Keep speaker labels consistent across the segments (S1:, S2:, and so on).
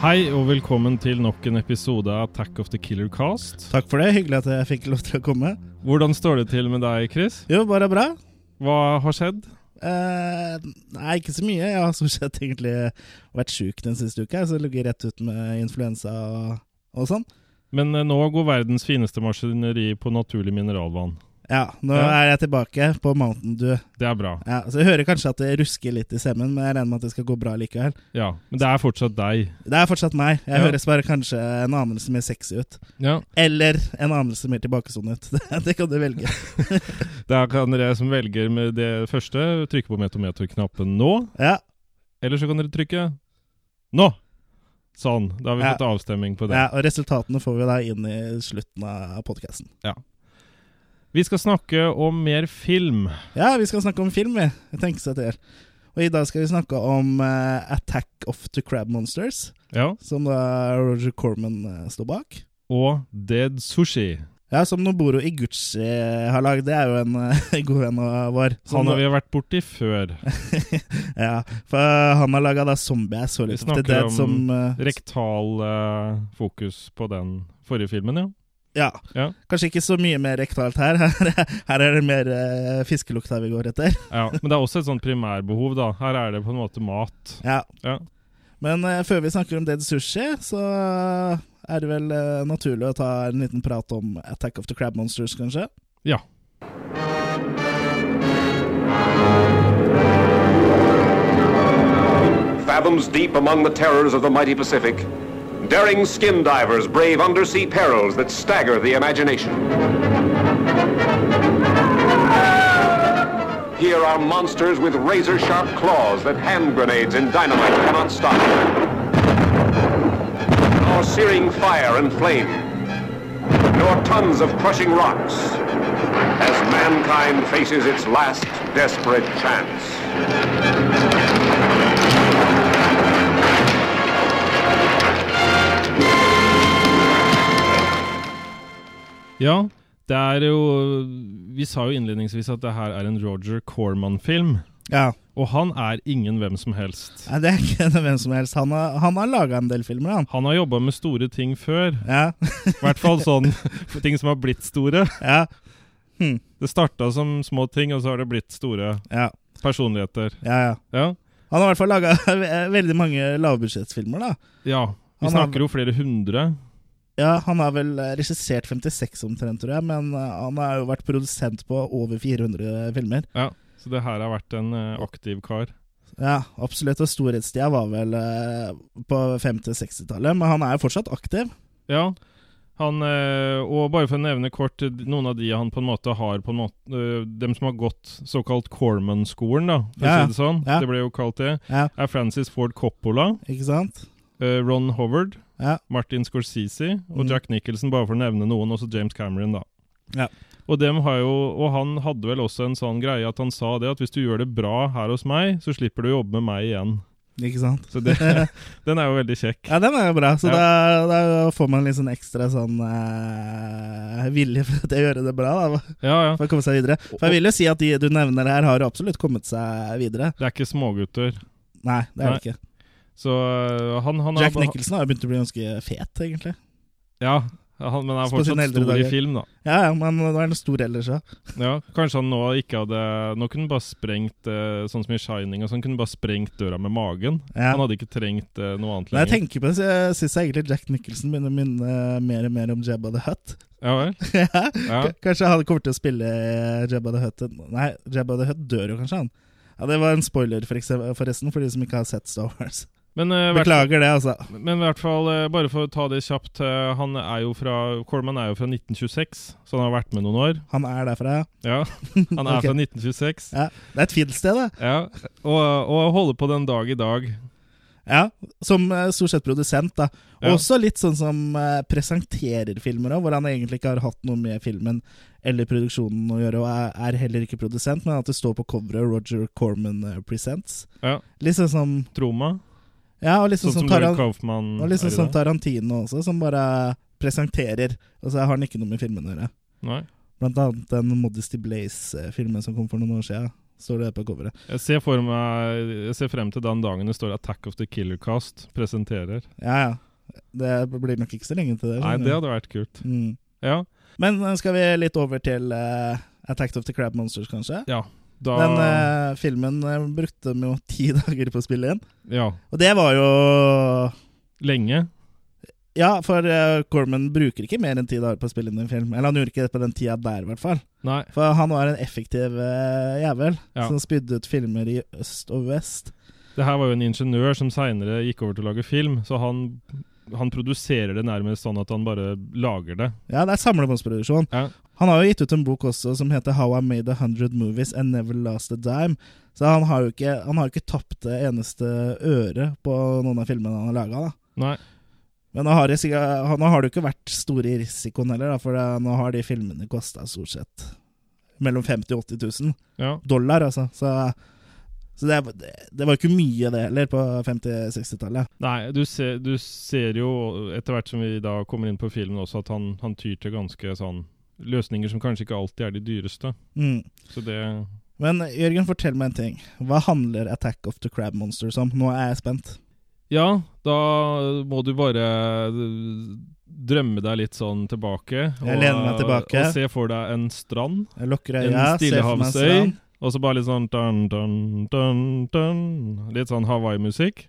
S1: Hei og velkommen til nok en episode av Attack of the Killer Cast.
S2: Takk for det. Hyggelig at jeg fikk lov til å komme.
S1: Hvordan står det til med deg, Chris?
S2: Jo, bare bra.
S1: Hva har skjedd?
S2: Eh, nei, ikke så mye. Jeg har stort sett egentlig vært sjuk den siste uka. Så jeg ligger rett ut med influensa og, og sånn.
S1: Men eh, nå går verdens fineste maskineri på naturlig mineralvann.
S2: Ja, nå
S1: Ja.
S2: er jeg tilbake på Mountain Dew.
S1: Det er bra.
S2: Ja, så jeg hører kanskje at det rusker litt i semmen, men jeg regner med at det skal gå bra likevel.
S1: Ja, Men det er fortsatt deg.
S2: Det er fortsatt meg. Jeg
S1: Ja.
S2: høres bare kanskje en anelse mer sexy ut.
S1: Ja.
S2: Eller en anelse mer tilbakesonet ut. Det, det kan du velge.
S1: Da kan dere som velger med det første, trykke på metometerknappen nå.
S2: Ja,
S1: Eller så kan dere trykke nå. Sånn. Da har vi
S2: Ja.
S1: fått avstemning på det.
S2: ja, og resultatene får vi da inn i slutten av podkasten.
S1: Vi skal snakke om mer film.
S2: Ja, vi skal snakke om film, vi. Jeg tenker seg til. Og i dag skal vi snakke om eh, Attack of the Crab Monsters,
S1: Ja.
S2: som da Roger Corman eh, står bak.
S1: Og Dead Sushi.
S2: Ja, som Noboro Iguchi har lagd. Det er jo en eh, god venn av vår. Som,
S1: Han har vi vært borti før.
S2: ja, for eh, han har laga da Zombie Ass Hollywood
S1: Vi
S2: of the
S1: snakker
S2: Dead
S1: om
S2: som eh,
S1: rektal eh, fokus på den forrige filmen, ja.
S2: ja.
S1: Ja.
S2: Kanskje ikke så mye mer rektalt her. Her, her er det mer eh, fiskelukta vi går etter.
S1: ja. Men det er også et sånt primærbehov, da. Her er det på en måte mat.
S2: Ja.
S1: Ja.
S2: Men eh, før vi snakker om Dead Sushi, så er det vel eh, naturlig å ta en liten prat om Attack of the Crab Monsters, kanskje?
S1: Ja.
S3: Fathoms deep among the terrors of the mighty Pacific, daring skin divers brave undersea perils that stagger the imagination. Here are monsters with razor sharp claws that hand grenades and dynamite cannot stop. Nor searing fire and flame, nor tons of crushing rocks, as mankind faces its last desperate chance.
S1: Ja, det er jo Vi sa jo innledningsvis at det her er en Roger Corman-film.
S2: Ja.
S1: Og han er ingen hvem som helst.
S2: Nei, det er ikke noe hvem som helst. Han har, han har laga en del filmer, han.
S1: Han har jobba med store ting før.
S2: Ja.
S1: I hvert fall sånn ting som har blitt store.
S2: ja.
S1: Det starta som små ting, og så har det blitt store
S2: Ja.
S1: personligheter.
S2: Ja, ja.
S1: Ja.
S2: Han har i hvert fall laga eh, veldig mange lavbudsjettfilmer, da.
S1: ja. Vi
S2: Han har-
S1: snakker jo flere hundre.
S2: Ja, han har vel eh, regissert 56 omtrent, tror jeg, men eh, han har jo vært produsent på over 400 filmer.
S1: Ja. Så det her har vært en eh, aktiv kar.
S2: Ja, absolutt. Og storhetstida var vel eh, på 50-60-tallet, men han er jo fortsatt aktiv.
S1: Ja. Han, eh, og bare for å nevne kort eh, noen av de han på en måte har på en måte, eh, Dem som har gått såkalt Corman-skolen, da, for å
S2: Ja,
S1: si det sånn.
S2: ja.
S1: Det ble jo kalt det.
S2: Ja.
S1: Er Francis Ford Coppola,
S2: Ikke sant?
S1: eh, Ron Howard,
S2: Ja.
S1: Martin Scorsese og
S2: Mm.
S1: Jack Nicholson, bare for å nevne noen. Også James Cameron, da.
S2: Ja.
S1: Og, dem har jo, og han hadde vel også en sånn greie at han sa det at hvis du gjør det bra her hos meg, så slipper du å jobbe med meg igjen.
S2: Ikke sant?
S1: Så det, den er jo veldig kjekk.
S2: Ja, den er jo bra. Så
S1: Ja.
S2: da, da får man litt sånn ekstra sånn eh, vilje for til å gjøre det bra, da.
S1: Ja, ja.
S2: For å komme seg videre. For jeg vil jo si at de du nevner her, har jo absolutt kommet seg videre.
S1: Det er ikke smågutter.
S2: Nei, det er det ikke.
S1: Så øh, han, han er-
S2: Jack Nicholson har jo begynt å bli ganske fet, egentlig.
S1: Ja, han, men han er
S2: På sine
S1: fortsatt
S2: eldre
S1: stor i
S2: dager.
S1: film, da.
S2: Ja, ja, men nå er han stor ellers òg.
S1: Ja, Kanskje han nå ikke hadde Nå kunne han bare sprengt eh, sånn som i Shining. Og sånn kunne han bare sprengt døra med magen.
S2: Ja.
S1: Han hadde ikke trengt eh, noe annet
S2: Når
S1: lenger.
S2: jeg tenker på det, så syns jeg egentlig Jack Nicholson begynner å minne mer og mer om Jabba the Hutt.
S1: Ja vel?
S2: ja.
S1: Ja.
S2: K- Kanskje han kommer til å spille eh, Jabba the Hutt Nei, Jabba the Hutt dør jo kanskje, han. Ja, Det var en spoiler, for eksem- forresten, for de som ikke har sett Star Wars.
S1: Men, eh, hvert-
S2: Beklager det, altså.
S1: men i hvert fall, eh, bare for å ta det kjapt eh, Han er jo fra Coleman er jo fra 1926, så han har vært med noen år.
S2: Han er derfra, ja.
S1: Ja, Han er
S2: Ok.
S1: fra 1926.
S2: ja. Det er et fint sted, det.
S1: Ja, Og, og holder på den dag i dag.
S2: Ja. Som eh, stort sett produsent, da.
S1: Ja.
S2: Også litt sånn som eh, presenterer filmer òg, hvor han egentlig ikke har hatt noe med filmen eller produksjonen å gjøre, og er, er heller ikke produsent, men at det står på coveret 'Roger Corman eh, Presents'.
S1: Ja,
S2: Litt sånn som
S1: Troma.
S2: Ja, og litt
S1: Sånn
S2: sånn
S1: som
S2: som Taran
S1: David Kaufman.
S2: Og
S1: Mm,
S2: liksom
S1: er i
S2: sånn
S1: dag.
S2: Tarantino også, som bare presenterer. Og så har han ikke noe med filmen å gjøre.
S1: Nei.
S2: Blant annet den Modesty Blaze-filmen som kom for noen år siden. står det på coveret.
S1: Jeg ser, for meg, jeg ser frem til den dagen det står 'Attack of the Killer Cast' presenterer.
S2: Ja, ja. Det blir nok ikke så lenge til det.
S1: Nei,
S2: skjønner
S1: det
S2: du.
S1: hadde vært kult.
S2: Mm.
S1: Ja,
S2: Men eh, skal vi litt over til eh, Attack of the Crab Monsters, kanskje?
S1: ja. Da
S2: Den eh, filmen eh, brukte de jo ti dager på å spille inn.
S1: Ja.
S2: Og det var jo
S1: Lenge.
S2: Ja, for eh, Corman bruker ikke mer enn ti dager på å spille inn en film. Eller han gjorde ikke det på den tida der, i hvert fall.
S1: Nei.
S2: For han var en effektiv eh, jævel
S1: Ja.
S2: som spydde ut filmer i øst og vest.
S1: Det her var jo en ingeniør som seinere gikk over til å lage film, så han, han produserer det nærmest sånn at han bare lager det.
S2: Ja, det er samlebåndsproduksjon.
S1: Ja.
S2: Han har jo gitt ut en bok også som heter How I Made a Hundred Movies and Never Lost a Dime. Så han har jo ikke, han har jo ikke tapt det eneste øret på noen av filmene han har laga.
S1: Nei.
S2: Men nå har, det, sikkert- han- nå har det jo ikke vært store i risikoen heller, da, for det, nå har de filmene kosta stort sett mellom 50 000 og 80 000
S1: Ja.
S2: dollar, altså. Så, så det, det var jo ikke mye, det heller, på 50-60-tallet.
S1: Nei, du ser, du ser jo etter hvert som vi da kommer inn på filmen også, at han, han tyr til ganske sånn løsninger som kanskje ikke alltid er de dyreste.
S2: Mm.
S1: Så det
S2: Men Jørgen, fortell meg en ting. Hva handler Attack of the Crab Monsters om? Nå er jeg spent.
S1: Ja, da må du bare eh, drømme deg litt sånn tilbake.
S2: Jeg lener meg tilbake.
S1: Og se for deg en strand,
S2: Jeg lukker
S1: en
S2: øya, ser for meg
S1: stillehavsøy,
S2: strand.
S1: og så bare litt sånn dun, dun, dun, dun. Litt sånn Hawaii-musikk.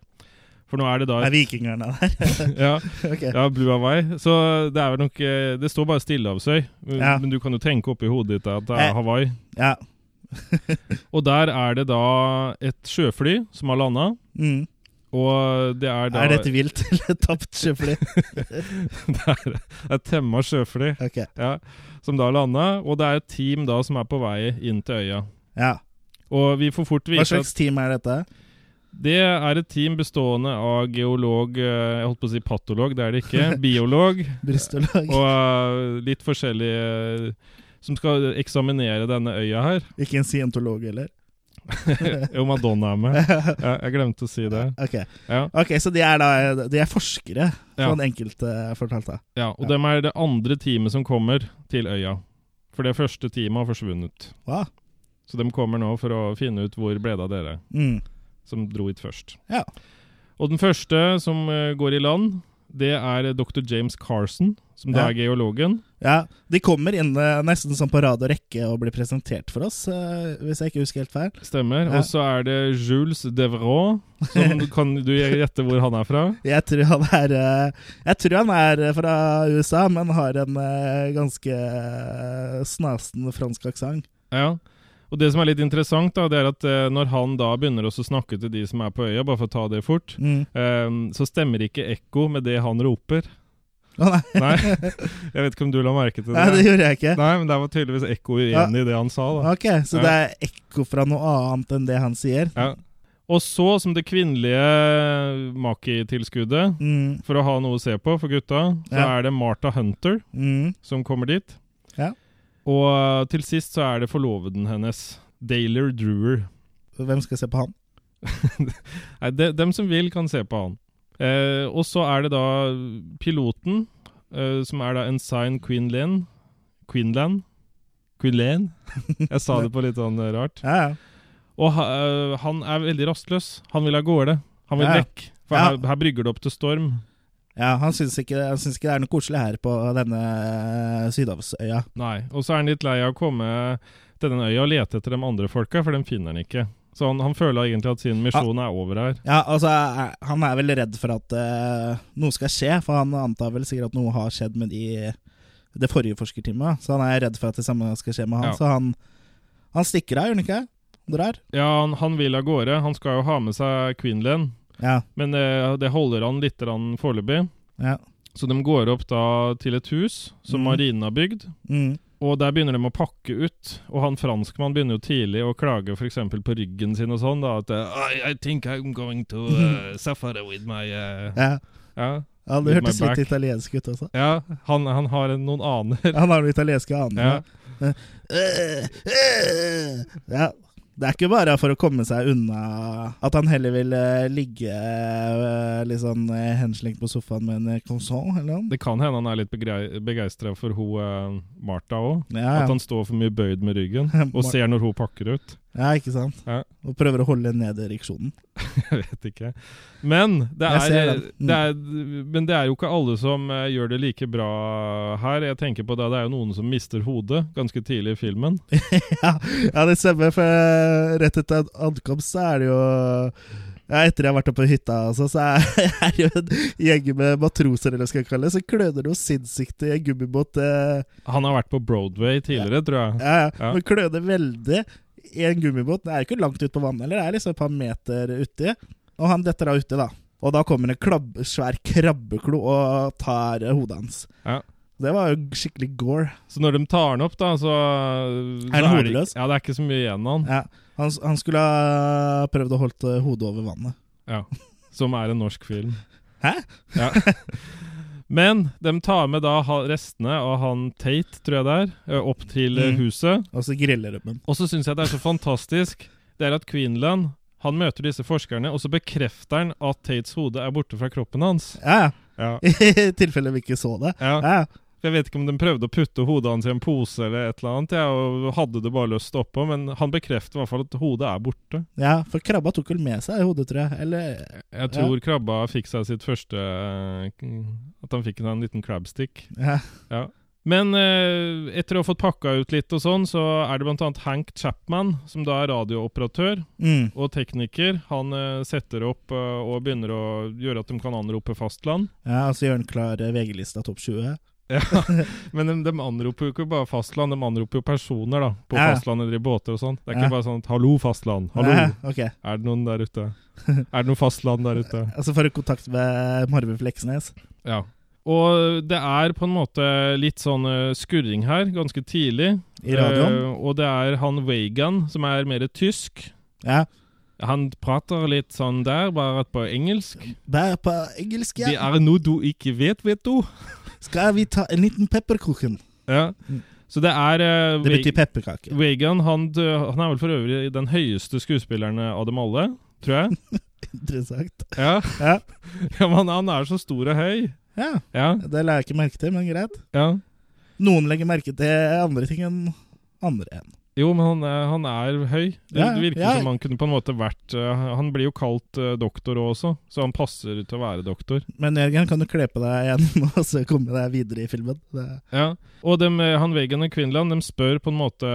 S1: For nå er det da
S2: Det er vikingerne der.
S1: ja,
S2: Ok.
S1: ja, Blue Hawaii. Så det er vel nok eh, Det står bare Stillehavsøy, men,
S2: Ja.
S1: men du kan jo tenke oppi hodet ditt at det
S2: Eh.
S1: er Hawaii.
S2: Ja.
S1: Og der er det da et sjøfly som har landa,
S2: Mm.
S1: og det er da
S2: Er dette vilt eller tapt sjøfly?
S1: det er et temma sjøfly
S2: Ok.
S1: ja, som da har landa, og det er et team da som er på vei inn til øya.
S2: Ja.
S1: Og vi får fort
S2: Hva
S1: vite
S2: slags
S1: at
S2: team er dette?
S1: det er et team bestående av geolog eh, Jeg holdt på å si patolog, det er det ikke. Biolog
S2: Brystolog?
S1: og eh, litt forskjellige eh, som skal eksaminere denne øya her.
S2: Ikke en scientolog heller?
S1: Jo, Madonna er med. Ja, jeg glemte å si det.
S2: Ok,
S1: Ja.
S2: Ok, så de er da De er forskere,
S1: Ja.
S2: sånn enkelte fortalte.
S1: Ja, og
S2: Ja.
S1: dem er det andre teamet som kommer til øya. For det første teamet har forsvunnet.
S2: Hva?
S1: Så de kommer nå for å finne ut hvor ble det av dere
S2: Mm.
S1: som dro hit først.
S2: Ja.
S1: Og den første som eh, går i land, det er eh, dr. James Carson, som da
S2: Ja.
S1: er geologen.
S2: Ja, De kommer inn eh, nesten sånn på rad og rekke og blir presentert for oss, eh, hvis jeg ikke husker helt feil.
S1: Stemmer.
S2: Ja.
S1: Og så er det Jules Devrault, som du- kan du gjette hvor han er fra?
S2: Jeg tror han er eh, Jeg tror han er eh, fra USA, men har en eh, ganske eh, snasen fransk aksent.
S1: Ja. Og det som er litt interessant, da, det er at eh, når han da begynner også å snakke til de som er på øya, bare for å ta det fort,
S2: Mm.
S1: eh, så stemmer ikke ekko med det han roper.
S2: Å, nei.
S1: Nei, jeg vet ikke om du la merke til det.
S2: nei, det gjorde jeg ikke.
S1: Nei, men det var tydeligvis ekko igjen i det han sa. da.
S2: Ok, Så det er ekko fra noe annet enn det han sier?
S1: Ja. Og så, som det kvinnelige makitilskuddet,
S2: Mm,
S1: for å ha noe å se på for gutta, så
S2: Ja.
S1: er det Martha Hunter
S2: mm,
S1: som kommer dit.
S2: Ja.
S1: Og eh, til sist så er det forloveden hennes, Daler Drewer.
S2: hvem skal se på han?
S1: Nei, de, dem som vil, kan se på han. Eh, og så er det da piloten, eh, som er da Ensign Quinlan. Quinlan? Quinlan? Jeg sa det på litt sånn eh, rart.
S2: Ja, ja.
S1: Og ha, eh, han er veldig rastløs. Han vil av gårde. Han vil
S2: Ja, ja.
S1: vekk. For
S2: Ja.
S1: her, her brygger det opp til storm.
S2: Ja, han syns ikke, han syns ikke det er noe koselig her på denne eh, Sydhavsøya.
S1: Nei. Og så er han litt lei av å komme til den øya og lete etter de andre folka, for dem finner han ikke. Så han, han føler egentlig at sin misjon er over her.
S2: Ja, altså, er- han er vel redd for at eh, noe skal skje, for han antar vel sikkert at noe har skjedd med de, det forrige forskerteamet. Så han er redd for at det samme skal skje med han,
S1: Ja.
S2: så han, han stikker av, gjør han ikke? Drar?
S1: Ja, han, han vil av gårde. Han skal jo ha med seg Quinlan.
S2: Ja.
S1: Men eh, det holder han litt grann foreløpig.
S2: ja.
S1: Så de går opp da til et hus som
S2: Mhm.
S1: marinen har bygd.
S2: Mm.
S1: Og der begynner de å pakke ut. Og han franskmannen begynner jo tidlig å klage f.eks. på ryggen sin og sånn. da, At eh, I, I think I'm going to eh, suffer with my eh,
S2: ja.
S1: ja.
S2: ja det
S1: With my
S2: hørtes litt
S1: back.
S2: italiensk ut også.
S1: ja, han, han har en- noen aner.
S2: Han har de italienske
S1: Ja.
S2: anene. Eh, eh, Ja. Det er ikke bare for å komme seg unna at han heller vil eh, ligge eh, litt sånn eh, henslengt på sofaen med en eh, croissant eller noe.
S1: Det kan hende han er litt begeistra for hun eh, Martha òg.
S2: Ja,
S1: At
S2: ja.
S1: han står for mye bøyd med ryggen, og
S2: Mar-
S1: ser når hun pakker ut.
S2: Ja, ikke sant?
S1: Ja.
S2: Og prøver å holde ned ereksjonen.
S1: Jeg vet ikke. Men det
S2: Jeg ser
S1: er,
S2: den. Mm.
S1: det er, men det er jo ikke alle som eh, gjør det like bra her. Jeg tenker på Det det er jo noen som mister hodet ganske tidlig i filmen.
S2: ja, ja, det stemmer, for eh, rett etter an- ankomst så er det jo ja, Etter jeg har vært oppe på hytta, altså, så er er det jo en gjeng med matroser, eller hva skal jeg kalle det, så kløner noe sinnssykt i en gummibåt. eh,
S1: Han har vært på Broadway tidligere, tror jeg.
S2: Ja, ja,
S1: Ja.
S2: men kløner veldig i en gummibåt. Det er jo ikke langt ut på vannet, eller det er liksom et par meter uti. Og han detter da uti, da. Og da kommer en klabb, svær krabbeklo og tar eh, hodet hans.
S1: Ja.
S2: Det var jo skikkelig gore.
S1: Så når de tar han opp, da, så så
S2: han
S1: det-
S2: hodeløs?
S1: Ja, det er ikke så mye igjen av han.
S2: Ja, han, han skulle ha prøvd å holde hodet over vannet.
S1: Ja. Som er en norsk film.
S2: Hæ?
S1: Ja. Men de tar med da ha- restene av han Tate, tror jeg det er, eh, opp til eh,
S2: Mm.
S1: huset.
S2: Og så griller de dem.
S1: Og så syns jeg det er så fantastisk Det er at Queenland han møter disse forskerne, og så bekrefter han at Tates hode er borte fra kroppen hans.
S2: Ja,
S1: Ja.
S2: ja. I tilfelle vi ikke så det.
S1: Ja.
S2: Ja, ja.
S1: Jeg vet ikke om de prøvde å putte hodet hans i en pose eller et eller annet, ja, og hadde det bare lyst oppå, men han bekrefter i hvert fall at hodet er borte.
S2: ja for krabba tok vel med seg hodet, tror jeg. Eller
S1: Jeg tror krabba fikk seg sitt første eh, At han fikk seg en liten crabstick.
S2: ja.
S1: Men eh, etter å ha fått pakka ut litt og sånn, så er det blant annet Hank Chapman, som da er radiooperatør,
S2: mm.
S1: og tekniker. Han eh, setter opp eh, og begynner å gjøre at de kan anrope fastland.
S2: ja, og så gjør han klar eh, VG-lista topp 20.
S1: Men de, de anroper jo ikke bare fastland, de anroper jo personer da, på
S2: Ja.
S1: fastlandet eller i båter og sånn. Det er
S2: Ja.
S1: ikke bare sånn at 'hallo, fastland', 'hallo,
S2: Ja, ok.
S1: er det noen der ute'? Er det noe fastland der ute?
S2: Altså får du kontakt med Marve Fleksnes.
S1: Ja. Og det er på en måte litt sånn eh, skurring her, ganske tidlig.
S2: I radioen.
S1: Eh, og det er han Wagan, som er mer tysk.
S2: Ja.
S1: Han prater litt sånn der, bare på engelsk.
S2: Bare på engelsk,
S1: Det
S2: ja.
S1: er noe du ikke vet, vet du.
S2: Skal vi ta en liten pepperkoken?
S1: Ja. Så det er eh,
S2: Mm. Det betyr
S1: Wa-
S2: pepperkake.
S1: Wagan han, dø- han er vel for øvrig den høyeste skuespilleren av dem alle, tror jeg.
S2: Interessant.
S1: Ja,
S2: Ja.
S1: ja men han er så stor og høy.
S2: ja.
S1: Ja,
S2: Det la jeg ikke merke til, men greit.
S1: ja.
S2: Noen legger merke til andre ting enn andre enn.
S1: Jo, men han, er- han er høy. Det,
S2: Ja,
S1: det virker
S2: ja.
S1: som han kunne på en måte vært eh, Han blir jo kalt eh, doktor også, så han passer til å være doktor.
S2: Men Jørgen, kan du kle på deg igjen og så komme deg videre i filmen? Det,
S1: Ja. Og dem, eh, han Wagan og Quinlan de spør på en måte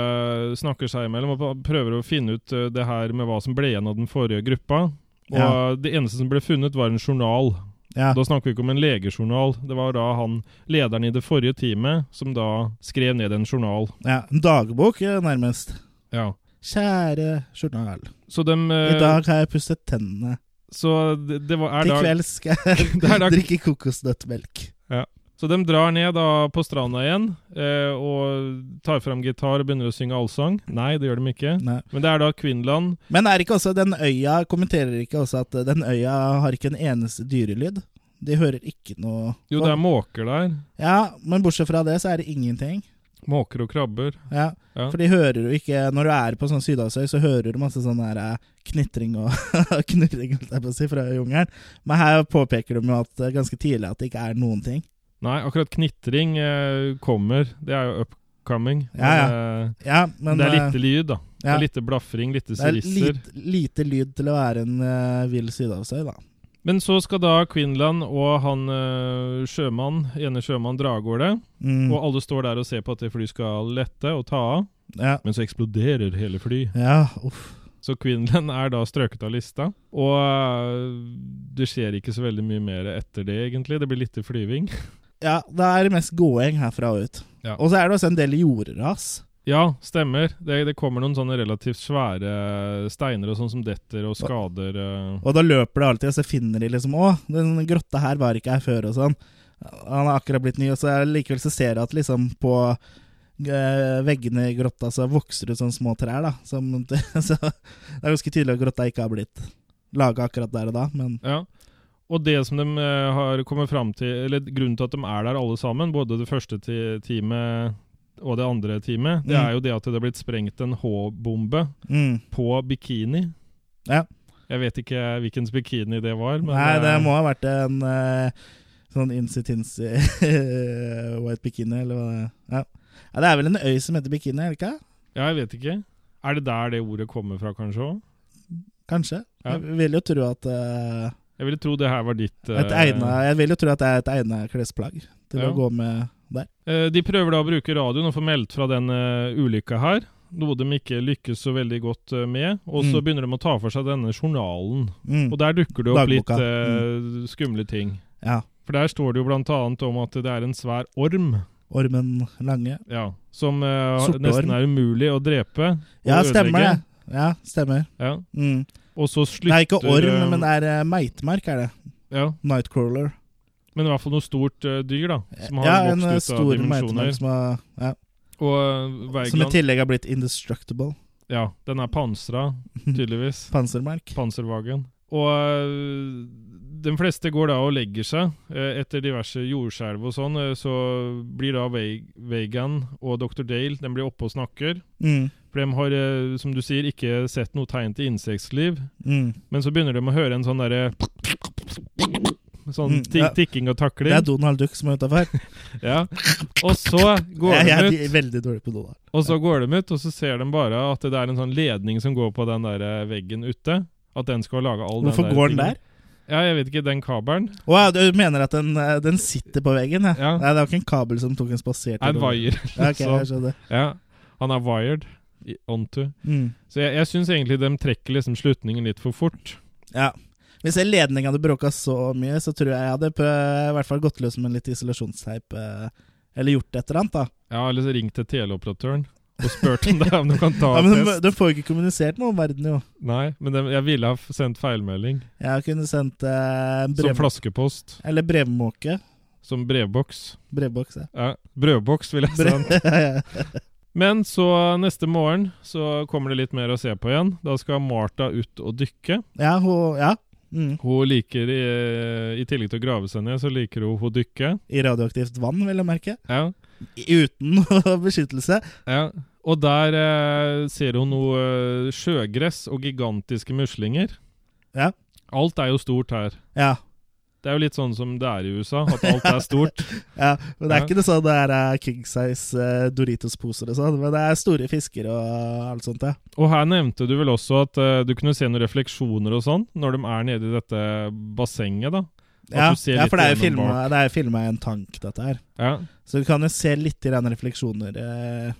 S1: Snakker seg imellom og prøver å finne ut eh, det her med hva som ble igjen av den forrige gruppa. Og
S2: Ja.
S1: det eneste som ble funnet, var en journal.
S2: ja.
S1: Da snakker vi ikke om en legejournal. Det var da han, lederen i det forrige teamet, som da skrev ned en journal.
S2: ja. En dagbok, eh, nærmest.
S1: Ja.
S2: Kjære journal.
S1: Så dem
S2: I
S1: eh,
S2: dag har jeg pusset tennene.
S1: Så det, det var, er
S2: Til
S1: da,
S2: kvelds skal jeg
S1: Det er da-
S2: drikke kokosnøttmelk.
S1: så dem drar ned da på stranda igjen eh, og tar fram gitar og begynner å synge allsang. Nei, det gjør de ikke.
S2: Nei.
S1: Men det er da Kvinland
S2: Men er ikke også den øya Kommenterer ikke også at eh, den øya har ikke en eneste dyrelyd? De hører ikke noe
S1: Jo, det er måker der.
S2: Ja, men bortsett fra det, så er det ingenting.
S1: Måker og krabber.
S2: Ja.
S1: Ja.
S2: For de hører jo ikke Når du er på sånn Sydhavsøy, så hører du masse sånn der eh, knitring og knurring, holdt jeg på å si, fra jungelen. Men her påpeker de jo at eh, ganske tidlig at det ikke er noen ting.
S1: Nei, akkurat knitring eh, kommer. Det er jo upcoming.
S2: Ja, ja.
S1: Men,
S2: Ja,
S1: eh,
S2: men
S1: det er
S2: eh,
S1: lite lyd, da. Det
S2: ja,
S1: er lite blafring, lite
S2: det er
S1: sirisser.
S2: lite, lite lyd til å være en eh, vill Sydhavsøy, da.
S1: Men så skal da Quinlan og han eh, sjømann, ene sjømann dra av gårde.
S2: Mm,
S1: Og alle står der og ser på at det flyet skal lette og ta av.
S2: ja.
S1: Men så eksploderer hele fly.
S2: ja, uff.
S1: Så Quinlan er da strøket av lista. Og eh, det skjer ikke så veldig mye mer etter det, egentlig. Det blir litt flyving.
S2: Ja, det er mest gåing herfra og ut.
S1: Ja.
S2: Og så er det også en del jordras.
S1: Ja, stemmer. Det, det kommer noen sånne relativt svære steiner og sånn som detter og skader eh.
S2: Og da løper det alltid, og så finner de liksom Å, den grotta her var ikke her før, og sånn. Han har akkurat blitt ny, og så er- likevel så ser du at liksom på eh, veggene i grotta så vokser det ut sånne små trær, da. Som, så det er ganske tydelig at grotta ikke har blitt laga akkurat der og da, men
S1: Ja. Og det som de eh, har kommet fram til, eller grunnen til at de er der alle sammen, både det første ti- teamet og det andre teamet, det
S2: Mm.
S1: er jo det at det har blitt sprengt en H-bombe
S2: mm.
S1: på bikini.
S2: Ja.
S1: Jeg vet ikke hvilken bikini det var, men
S2: Nei, det
S1: eh,
S2: må ha vært en eh, sånn insitinsi white bikini, eller hva det er. Ja. ja, det er vel en øy som heter Bikini, er det ikke?
S1: Ja, jeg vet ikke. Er det der det ordet kommer fra, kanskje òg?
S2: Kanskje.
S1: Ja.
S2: Jeg vil jo tro at eh,
S1: Jeg ville tro det her var ditt eh,
S2: et egna, Jeg vil jo tro at det er et egnet klesplagg til
S1: Ja.
S2: å gå med der.
S1: Eh, De prøver da å bruke radioen og få meldt fra den eh, ulykka her, noe de ikke lykkes så veldig godt eh, med. Og så
S2: Mm.
S1: begynner de å ta for seg denne journalen,
S2: Mm.
S1: og der dukker det opp litt
S2: Dagboka.
S1: eh,
S2: Mm.
S1: skumle ting.
S2: Ja.
S1: For der står det jo blant annet om at det er en svær orm,
S2: Ormen Lange.
S1: ja, som eh,
S2: Sorte
S1: nesten
S2: orm.
S1: er umulig å drepe og
S2: Ja, stemmer det.
S1: ødelegge.
S2: Ja, stemmer.
S1: Ja.
S2: Mm.
S1: Og så
S2: Det
S1: slutter
S2: er ikke orm,
S1: eh,
S2: men det er eh, meitmark, er det.
S1: ja,
S2: Nightcrawler.
S1: Men i hvert fall noe stort eh, dyr, da. Som har
S2: Ja, en eh,
S1: vokst ut av
S2: stor
S1: dimensjoner.
S2: meitmark som, har- ja,
S1: Og eh,
S2: som i
S1: Wergeland
S2: tillegg har blitt indestructible.
S1: Ja, den er pansra, tydeligvis.
S2: Pansermark.
S1: Panservagen. Og øh, de fleste går da og legger seg. Eh, Etter diverse jordskjelv og sånn, eh, så blir da Ve- Vegan og Dr. Dale de blir oppe og snakker.
S2: Mm.
S1: For de har, eh, som du sier, ikke sett noe tegn til insektliv.
S2: Mm.
S1: Men så begynner de å høre en sånn derre Sånn
S2: Mm,
S1: ti
S2: ja.
S1: tikking og
S2: Det er
S1: takling.
S2: Donald Duck som er utafor.
S1: Ja. Og så går
S2: Jeg, jeg
S1: de
S2: er
S1: ut,
S2: veldig dårlig på Donald.
S1: og så går de ut, og så ser de bare at det er en sånn ledning som går på den der eh, veggen ute. At den skal lage all
S2: Hvorfor
S1: den der
S2: går den
S1: tingen.
S2: der?
S1: Ja, jeg vet ikke, den kabelen.
S2: Å ja, du mener at den, eh, den sitter på veggen? Ja.
S1: Ja.
S2: Nei, det var ikke en kabel som tok en spasertur.
S1: Er en wire.
S2: Ja, ok, jeg skjønner.
S1: Ja, han er wired i- onto.
S2: Mm.
S1: Så jeg, jeg syns egentlig de trekker liksom slutningen litt for fort.
S2: Ja. Hvis jeg ledningen hadde bråka så mye, så tror jeg jeg hadde prø- i hvert fall gått løs med litt isolasjonsteip. eh, Eller gjort et eller annet, da.
S1: Ja, eller så ring liksom til teleoperatøren og spør om, det, om de kan ta
S2: Ja,
S1: en
S2: men de,
S1: test.
S2: de får jo ikke kommunisert noe om verden, jo.
S1: Nei, men de, jeg ville ha f- sendt feilmelding.
S2: Jeg kunne sendt eh, en
S1: Som
S2: brev...
S1: flaskepost.
S2: Eller brevmåke.
S1: Som brevboks.
S2: Brevboks, ja.
S1: Ja, brødboks, ville jeg sendt. Men så neste morgen så kommer det litt mer å se på igjen. Da skal Martha ut og dykke.
S2: ja, hun, ja. Mm.
S1: Hun liker, eh, i, i tillegg til å grave seg ned, så liker hun å dykke.
S2: I radioaktivt vann, vil jeg merke.
S1: Ja.
S2: I- Uten beskyttelse.
S1: Ja, og der eh, ser hun noe eh, sjøgress og gigantiske muslinger.
S2: Ja.
S1: Alt er jo stort her.
S2: Ja.
S1: Det er jo litt sånn som det er i USA, at alt er stort.
S2: ja. Men det er
S1: Ja.
S2: ikke det sånn det er eh, king size eh, Doritos-poser og sånn, men det er store fisker og alt sånt, ja.
S1: Og her nevnte du vel også at eh, du kunne se noen refleksjoner og sånn når de er nede i dette bassenget, da. At
S2: Ja,
S1: du ser
S2: ja
S1: litt
S2: for det er jo
S1: gjennom
S2: filma det er jo filma i en tank, dette her.
S1: Ja.
S2: Så du kan jo se litt i den refleksjoner eh,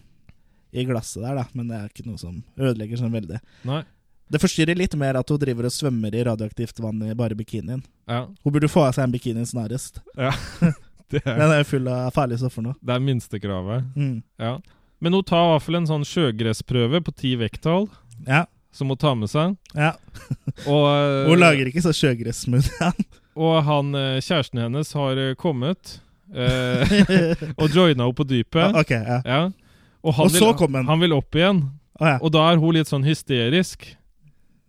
S2: i glasset der, da. Men det er ikke noe som ødelegger sånn veldig.
S1: Nei.
S2: Det forstyrrer litt mer at hun driver og svømmer i radioaktivt vann i bare bikinien.
S1: Ja.
S2: Hun burde få av seg en bikini snarest.
S1: Det er,
S2: Den er jo full av farlige stoffer nå.
S1: det er minstekravet.
S2: Mm.
S1: Ja. Men hun tar i hvert fall en sånn sjøgressprøve på ti vekttall,
S2: Ja,
S1: som hun tar med seg.
S2: ja.
S1: Og, eh,
S2: Hun lager ikke så sjøgressmoothie.
S1: Og han, eh, kjæresten hennes har eh, kommet eh, og joina henne på dypet.
S2: ok, ja.
S1: Ja. Og, han
S2: Og så
S1: vil,
S2: kom den.
S1: Han vil opp igjen,
S2: Å, ja.
S1: og da er hun litt sånn hysterisk.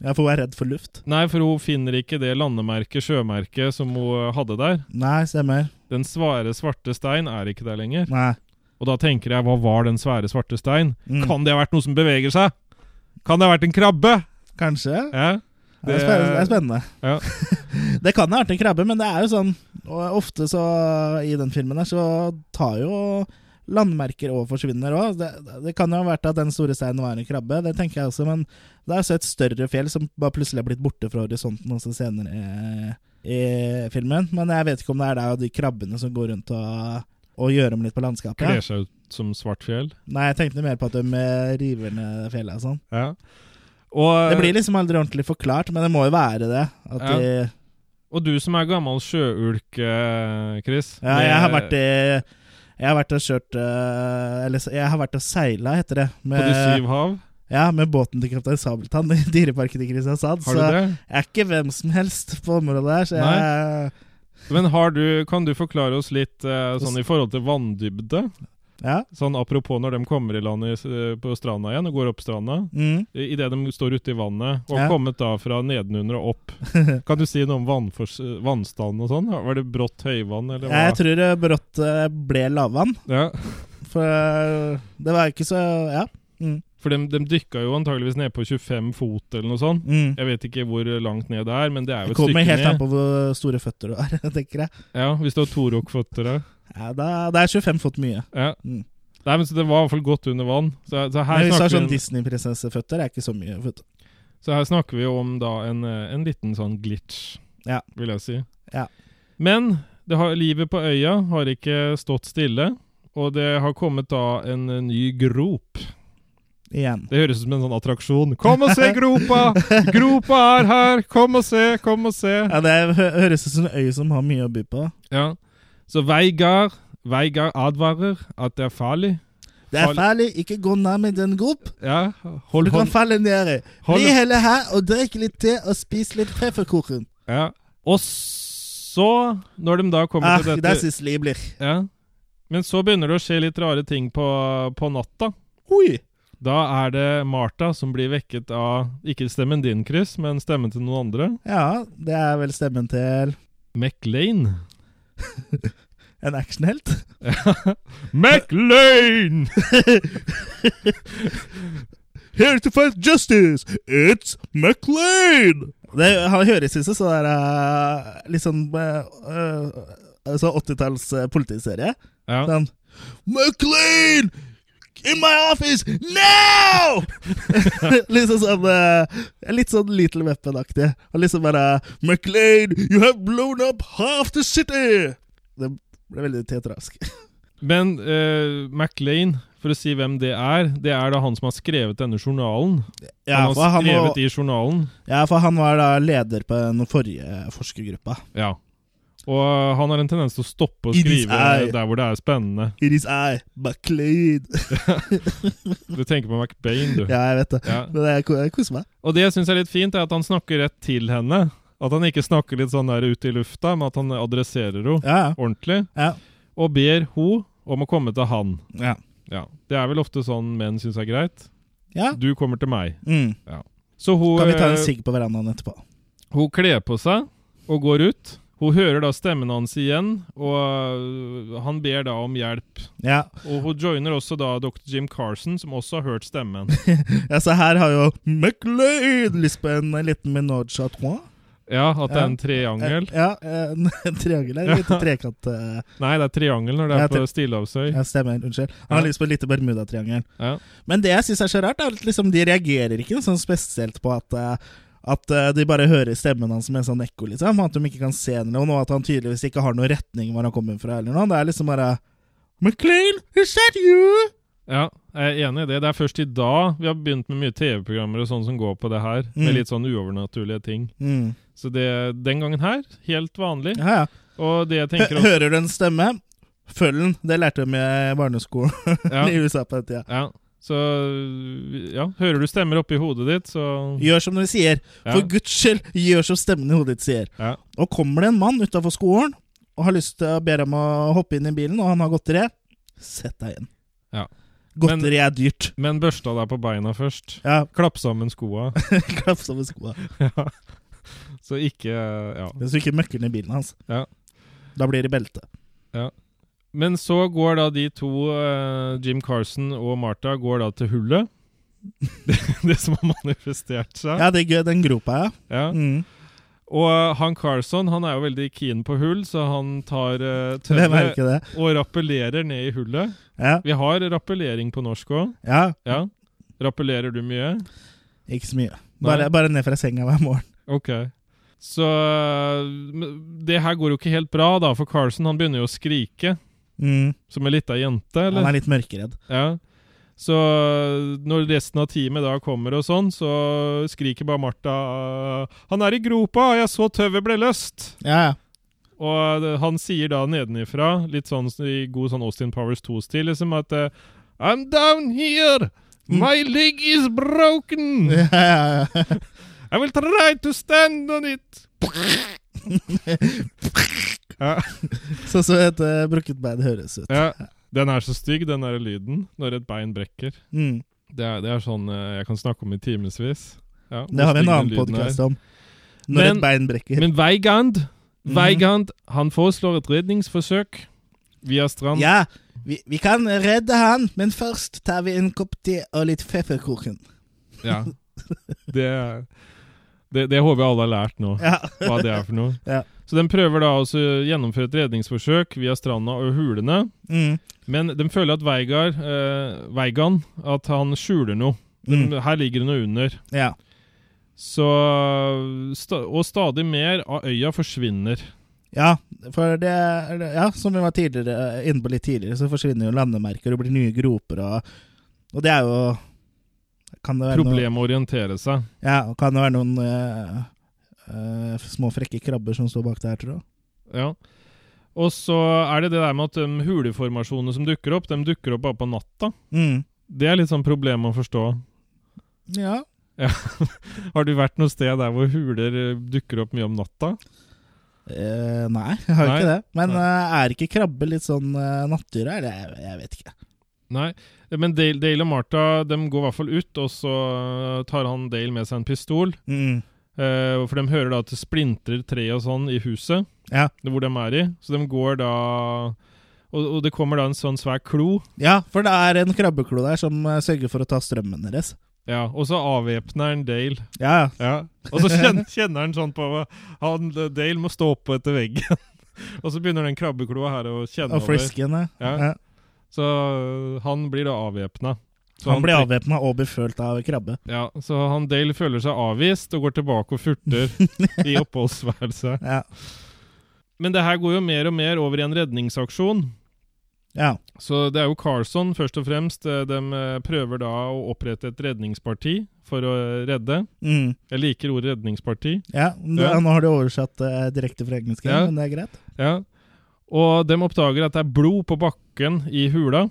S2: ja, for hun er redd for luft.
S1: Nei, for hun finner ikke det landemerket, sjømerket, som hun eh, hadde der.
S2: Nei, stemmer.
S1: Den svære, svarte stein er ikke der lenger.
S2: Nei.
S1: Og da tenker jeg, hva var den svære, svarte stein?
S2: Mm.
S1: Kan det ha vært noe som beveger seg? Kan det ha vært en krabbe?
S2: Kanskje?
S1: Ja.
S2: Det er spen- det er spennende.
S1: Ja.
S2: det kan ha vært en krabbe, men det er jo sånn og Ofte så i den filmen her så tar jo landmerker og forsvinner òg. Det, det kan jo ha vært at den store steinen var en krabbe, det tenker jeg også, men det er altså et større fjell som bare plutselig har blitt borte fra horisonten også senere i, i filmen. Men jeg vet ikke om det er der og de krabbene som går rundt og, og gjør om litt på landskapet.
S1: Kler seg ut som svart fjell.
S2: Nei, jeg tenkte mer på at de eh, river ned fjellet og sånn.
S1: Ja. Og,
S2: Det blir liksom aldri ordentlig forklart, men det må jo være det. At
S1: Ja.
S2: de
S1: Og du som er gammel sjøulk, eh, Chris.
S2: Ja,
S1: med-
S2: jeg har vært i Jeg har vært og kjørt eh, Eller s- jeg har vært og seila, heter det.
S1: På de
S2: Med,
S1: syv hav.
S2: ja, med båten til kaptein Sabeltann i Dyreparken i Kristiansand.
S1: Har du
S2: så
S1: det?
S2: jeg er ikke hvem som helst på området her. Så jeg,
S1: Men har du, kan du forklare oss litt eh, sånn i forhold til vanndybde?
S2: ja,
S1: Sånn apropos når de kommer i land i s- eh, på stranda igjen og går opp stranda.
S2: mm.
S1: Idet de står ute i vannet og
S2: Ja.
S1: kommet da fra nedenunder og opp. Kan du si noe om vannfors vannstanden og sånn? Var det brått høyvann, eller hva?
S2: Jeg tror det brått eh, ble lavvann,
S1: Ja.
S2: for eh, det var ikke så Ja. Mm.
S1: For de, de dykka jo antageligvis ned på 25 fot eller noe sånt.
S2: Mm.
S1: Jeg vet ikke hvor langt ned det er, men det er jo
S2: Det
S1: et stykke
S2: kommer helt an
S1: ned.
S2: på hvor store føtter du har, tenker jeg.
S1: Ja, hvis du har Torok-føtter da.
S2: Ja, da, det er 25 fot mye.
S1: Ja.
S2: Mm.
S1: Nei, men så Det var i hvert fall godt under vann. Så, så, her,
S2: Men hvis du har
S1: snakker
S2: sånn
S1: vi,
S2: Disney-prinsesseføtter, er ikke så mye. Vet du.
S1: om- så her snakker vi jo om da en, eh, en liten sånn glitch,
S2: Ja.
S1: vil jeg si.
S2: Ja.
S1: Men det har, livet på øya har ikke stått stille, og det har kommet da en eh, ny grop.
S2: Igjen.
S1: Det høres ut som en sånn attraksjon. Kom og se gropa! Gropa er her! Kom og se, kom og se!
S2: Ja, det hø høres ut som en øy som har mye å by på.
S1: Ja. Så Veigar, Veigar advarer at det er farlig.
S2: Det er
S1: Farlig.
S2: farlig, ikke gå nærme den grop.
S1: Ja,
S2: Du
S1: hold
S2: kan
S1: hånd
S2: falle nedi.
S1: hold-
S2: Bli heller her og drikk litt te og spis litt pepperkoken.
S1: Ja. Og så, når de da kommer
S2: Ah,
S1: til
S2: det er
S1: dette
S2: Sisli blir.
S1: ja. Men så begynner det å skje litt rare ting på, på natta.
S2: Oi!
S1: Da er det Martha som blir vekket av ikke stemmen din, Chris, men stemmen til noen andre.
S2: Ja, det er vel stemmen til
S1: MacLaine.
S2: en actionhelt.
S1: MacLaine!
S2: Here to fight justice, it's MacLean! Det, han høres ut som sånn der eh, Litt sånn eh, eh, sånn 80-talls eh, politiserie.
S1: Ja.
S2: Sånn MacLean! In my office now! litt sånn sånn eh, Litt sånn Little Weapon-aktig. Og liksom bare MacLean, you have blown up half the city! Det ble veldig teatralsk.
S1: Men eh, MacLaine, for å si hvem det er, det er da han som har skrevet denne journalen. han
S2: for
S1: har
S2: han
S1: skrevet
S2: må-
S1: i journalen.
S2: Ja, for han var da leder på den forrige forskergruppa.
S1: Ja. Og han har en tendens til å stoppe å
S2: It is
S1: skrive
S2: I.
S1: der hvor det er spennende.
S2: It is I, MacLeod.
S1: Du tenker på MacBain, du.
S2: ja, jeg vet det.
S1: Ja.
S2: Men jeg, ko- jeg koser meg.
S1: Og det jeg syns er litt fint, er at han snakker rett til henne. At han ikke snakker litt sånn der ute i lufta, men at han adresserer henne
S2: Ja,
S1: ordentlig.
S2: ja.
S1: Og ber hun om å komme til han.
S2: Ja.
S1: Ja. Det er vel ofte sånn menn syns er greit.
S2: ja.
S1: Du kommer til meg.
S2: Mm.
S1: Så hun,
S2: Kan vi ta en
S1: eh,
S2: sigg på verandaen etterpå?
S1: hun kler på seg og går ut. Hun hører da stemmen hans igjen, og øh, han ber da om hjelp.
S2: Ja.
S1: Og hun joiner også da dr. Jim Carson, som også har hørt stemmen.
S2: ja, så her har jo MacLeod lyst på en liten Minoge à trois.
S1: Ja, at det er en
S2: Eh,
S1: triangel.
S2: Ja, en en triangel. En liten trekant. eh,
S1: Nei, det er triangel når det
S2: Ja,
S1: er på
S2: tri-
S1: Stillehavsøy.
S2: Ja, stemmer. Unnskyld. Han har
S1: Ja.
S2: lyst på et lite Bermudatriangel.
S1: Ja.
S2: Men det jeg syns er så rart, er at liksom de reagerer ikke sånn spesielt på at eh, at eh, de bare hører stemmen hans med en sånn ekko, liksom. At de ikke kan se noen, og at han tydeligvis ikke har noen retning hvor han kommer fra. eller noe. Det er liksom bare McLean, is that you?
S1: Ja, jeg er enig i det. Det er først i dag vi har begynt med mye TV-programmer og sånn som går på det her,
S2: Mm.
S1: med litt sånn uovernaturlige ting.
S2: Mm.
S1: Så det, den gangen her, helt vanlig.
S2: Ja, ja.
S1: Og det jeg
S2: Hø-
S1: tenker også
S2: Hører du en stemme? Følg den. Det lærte de i barneskolen
S1: ja,
S2: i USA på den tida.
S1: ja, så ja, hører du stemmer oppi hodet ditt, så
S2: Gjør som de sier.
S1: Mm. ja,
S2: For guds skyld, gjør som stemmen i hodet ditt sier.
S1: ja,
S2: Og kommer det en mann utafor skolen og har lyst til å be deg om å hoppe inn i bilen, og han har godteri, sett deg inn.
S1: Ja.
S2: Godteri er dyrt.
S1: Men børsta deg på beina først.
S2: Ja,
S1: Klapp sammen skoa,
S2: klapp sammen skoa.
S1: så ikke Ja.
S2: Hvis du ikke møkker ned bilen hans,
S1: Ja.
S2: da blir det belte.
S1: Men så går da de to, eh, Jim Carson og Martha, går da til hullet. Det, det som har manifestert seg.
S2: Ja, det er gøy, den gropa, ja.
S1: Ja.
S2: Mm.
S1: Og han Carson han er jo veldig keen på hull, så han tar uh,
S2: Hvem er
S1: tønne
S2: ikke det?
S1: og rappellerer ned i hullet.
S2: Ja,
S1: Vi har rappellering på norsk òg.
S2: ja.
S1: Ja. Rappellerer du mye?
S2: Ikke så mye.
S1: Nei.
S2: Bare, bare ned fra senga hver morgen.
S1: OK. Så eh, men Det her går jo ikke helt bra, da, for Carson han begynner jo å skrike.
S2: Mm.
S1: Som ei lita jente,
S2: Han
S1: eller?
S2: er litt mørkeredd.
S1: Ja. Så eh, når resten av teamet da kommer og sånn, så skriker bare Martha eh, 'Han er i gropa! Jeg så tøvet ble løst!'
S2: Ja, ja.
S1: Og det- han sier da nedenifra, litt sånn s- i god sånn Austin Powers 2-stil, liksom at eh, I'm down here! My leg is broken!
S2: Mm. ja, ja, ja.
S1: I will try to stand on it! ja,
S2: Sånn som et uh, brukket bein høres ut.
S1: ja. Den er så stygg, den der lyden, når et bein brekker.
S2: Mm.
S1: Det er, det er sånn eh, jeg kan snakke om i timevis. Ja, hvor
S2: Det har vi
S1: stygg
S2: en
S1: den
S2: annen
S1: lyden er.
S2: podkast om. Når
S1: Men-
S2: et bein brekker.
S1: Men Weigand,
S2: Mhm.
S1: Weigand han foreslår et redningsforsøk via strand.
S2: Ja, vi, vi kan redde han, men først tar vi en kopp te og litt pepperkoken.
S1: Ja. Det er Det, det håper jeg alle har lært nå,
S2: Ja.
S1: hva det er for noe.
S2: Ja.
S1: Så den prøver da også å gjennomføre et redningsforsøk via stranda og hulene.
S2: Mm.
S1: Men de føler at Veigar, eh, Veigan at han skjuler noe.
S2: Mm.
S1: Her ligger det noe under.
S2: Ja.
S1: Så, sta og stadig mer av øya forsvinner.
S2: Ja, for det, ja, som vi var tidligere, inne på litt tidligere, så forsvinner jo landemerker og blir nye groper. Og, og det er jo kan det være noe-
S1: Problemet å orientere seg.
S2: ja, og kan det være noen eh, eh, små frekke krabber som står bak der, tror jeg.
S1: Ja. Og så er det det der med at de huleformasjonene som dukker opp, de dukker opp bare på natta.
S2: Mm.
S1: Det er litt sånn problem å forstå.
S2: Ja.
S1: Har du vært noe sted der hvor huler eh, dukker opp mye om natta?
S2: Eh, nei, jeg har jo
S1: Nei.
S2: ikke det. Men
S1: Nei.
S2: eh, er ikke krabbe litt sånn uh, nattdyr? eller? Jeg, jeg vet ikke.
S1: Nei, men Dale, Dale og Martha de går i hvert fall ut, og så eh, tar han Dale med seg en pistol.
S2: Mm.
S1: Eh, for de hører da at det splintrer tre og sånn i huset
S2: Ja.
S1: det- hvor de er i. Så de går da og, og det kommer da en sånn svær klo.
S2: Ja, for det er en krabbeklo der som eh, sørger for å ta strømmen deres.
S1: Ja, og så avvæpner han Dale.
S2: Ja,
S1: Ja. Og så kjenner, kjenner han sånn på han, Dale må stå oppå etter veggen. og så begynner den krabbekloa her å kjenne
S2: og eh.
S1: over.
S2: friskene.
S1: Ja. Så øh, han blir da avvæpna. Så
S2: Han blir
S1: tek-
S2: avvæpna og befølt av krabbe.
S1: Ja, så han Dale føler seg avvist og går tilbake og furter i oppholdsværelset.
S2: Ja.
S1: Men det her går jo mer og mer over i en redningsaksjon.
S2: ja.
S1: Så det er jo Carson først og fremst. Eh, De eh, prøver da å opprette et redningsparti for å eh, redde.
S2: Mm.
S1: Jeg liker ordet redningsparti.
S2: Ja, nå,
S1: Ja.
S2: nå har du oversatt eh, direkte fra engelsk,
S1: Ja.
S2: men det er greit.
S1: Ja. Og de oppdager at det er blod på bakken i hula.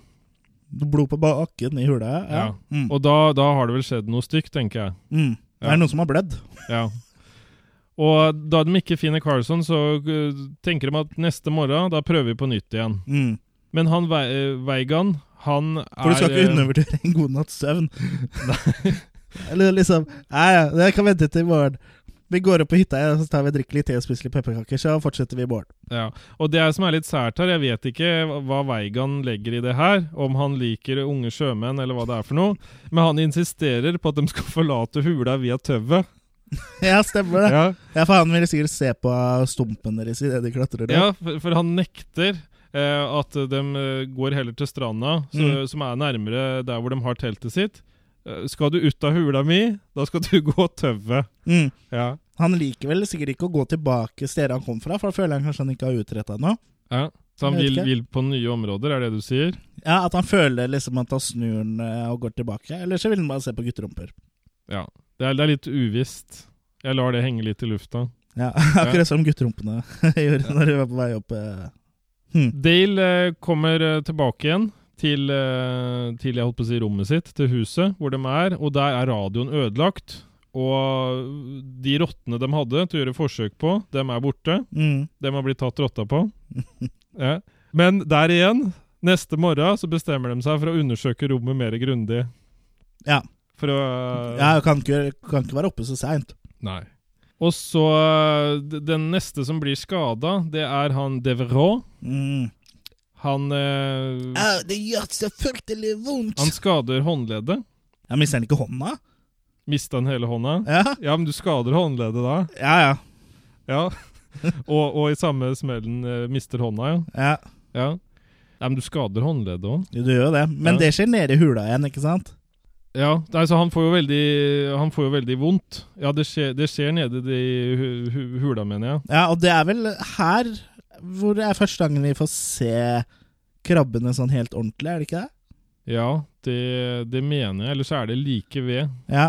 S2: Blod på bakken i hula. Ja.
S1: Ja.
S2: Mm.
S1: Og da, da har det vel skjedd noe stygt, tenker jeg.
S2: mm.
S1: Ja.
S2: Er det noen som har blødd?
S1: Ja. Og da de ikke finner Carlson, så uh, tenker de at neste morgen, da prøver vi på nytt igjen.
S2: Mm.
S1: Men han Ve eh, Veigan, han er
S2: For du skal
S1: eh,
S2: ikke undervurdere en god natts søvn. Eller liksom Nei, ja, det kan vente til i morgen. Vi går opp på hytta, ja, så tar vi og drikker litt te og spiser litt pepperkaker, så fortsetter vi i morgen.
S1: Ja. Og det som er litt sært her, jeg vet ikke hva Veigan legger i det her, om han liker unge sjømenn eller hva det er for noe, men han insisterer på at de skal forlate hula via tøvet.
S2: Ja, stemmer det. Ja,
S1: Ja,
S2: for han vil sikkert se på stumpen deres idet de klatrer.
S1: ja for, for han nekter. Eh, at de eh, går heller til stranda, så,
S2: Mm.
S1: som er nærmere der hvor de har teltet sitt. Eh, skal du ut av hula mi, da skal du gå tøvet.
S2: Mm.
S1: Ja.
S2: Han liker vel sikkert ikke å gå tilbake stedet han kom fra, for da føler han kanskje han ikke har utretta noe.
S1: ja. Så han
S2: Jeg vet
S1: vil,
S2: ikke.
S1: vil på nye områder, er det du sier?
S2: Ja, At han føler liksom at han snur den eh, og går tilbake. Eller så vil han bare se på gutterumper.
S1: Ja. Det er, det er litt uvisst. Jeg lar det henge litt i lufta.
S2: Ja, Akkurat som gutterumpene gjorde når de var på vei opp. eh. Hm.
S1: Dale eh, kommer eh, tilbake igjen til, eh, til jeg holdt på å si rommet sitt, til huset hvor de er, og der er radioen ødelagt. Og de rottene de hadde til å gjøre forsøk på, dem er borte.
S2: Mm.
S1: Dem har blitt tatt rotta på. ja. Men der igjen, neste morgen så bestemmer de seg for å undersøke rommet mer grundig.
S2: Ja.
S1: For å eh,
S2: Ja, kan ikke, kan ikke være oppe så seint.
S1: Nei. Og så d- Den neste som blir skada, det er han Deveraux.
S2: Mm.
S1: Han eh,
S2: Au, det gjør så fryktelig vondt!
S1: Han skader håndleddet.
S2: Jeg mister han ikke hånda?
S1: Mista han hele hånda?
S2: Ja,
S1: Ja, men du skader håndleddet da.
S2: ja. ja,
S1: Ja. og, og i samme smellen eh, mister hånda, ja.
S2: ja.
S1: ja. Nei, men du skader håndleddet òg.
S2: Jo, Du gjør jo det. Men
S1: Ja.
S2: det skjer nede i hula igjen, ikke sant?
S1: Ja, nei, så han får jo veldig Han får jo veldig vondt. Ja, det skjer, det skjer nede i hu, hu, hula, mener jeg.
S2: Ja, Og det er vel her hvor det er første gangen vi får se krabbene sånn helt ordentlig, er det ikke det?
S1: Ja, det, det mener jeg. Ellers er det like ved.
S2: Ja.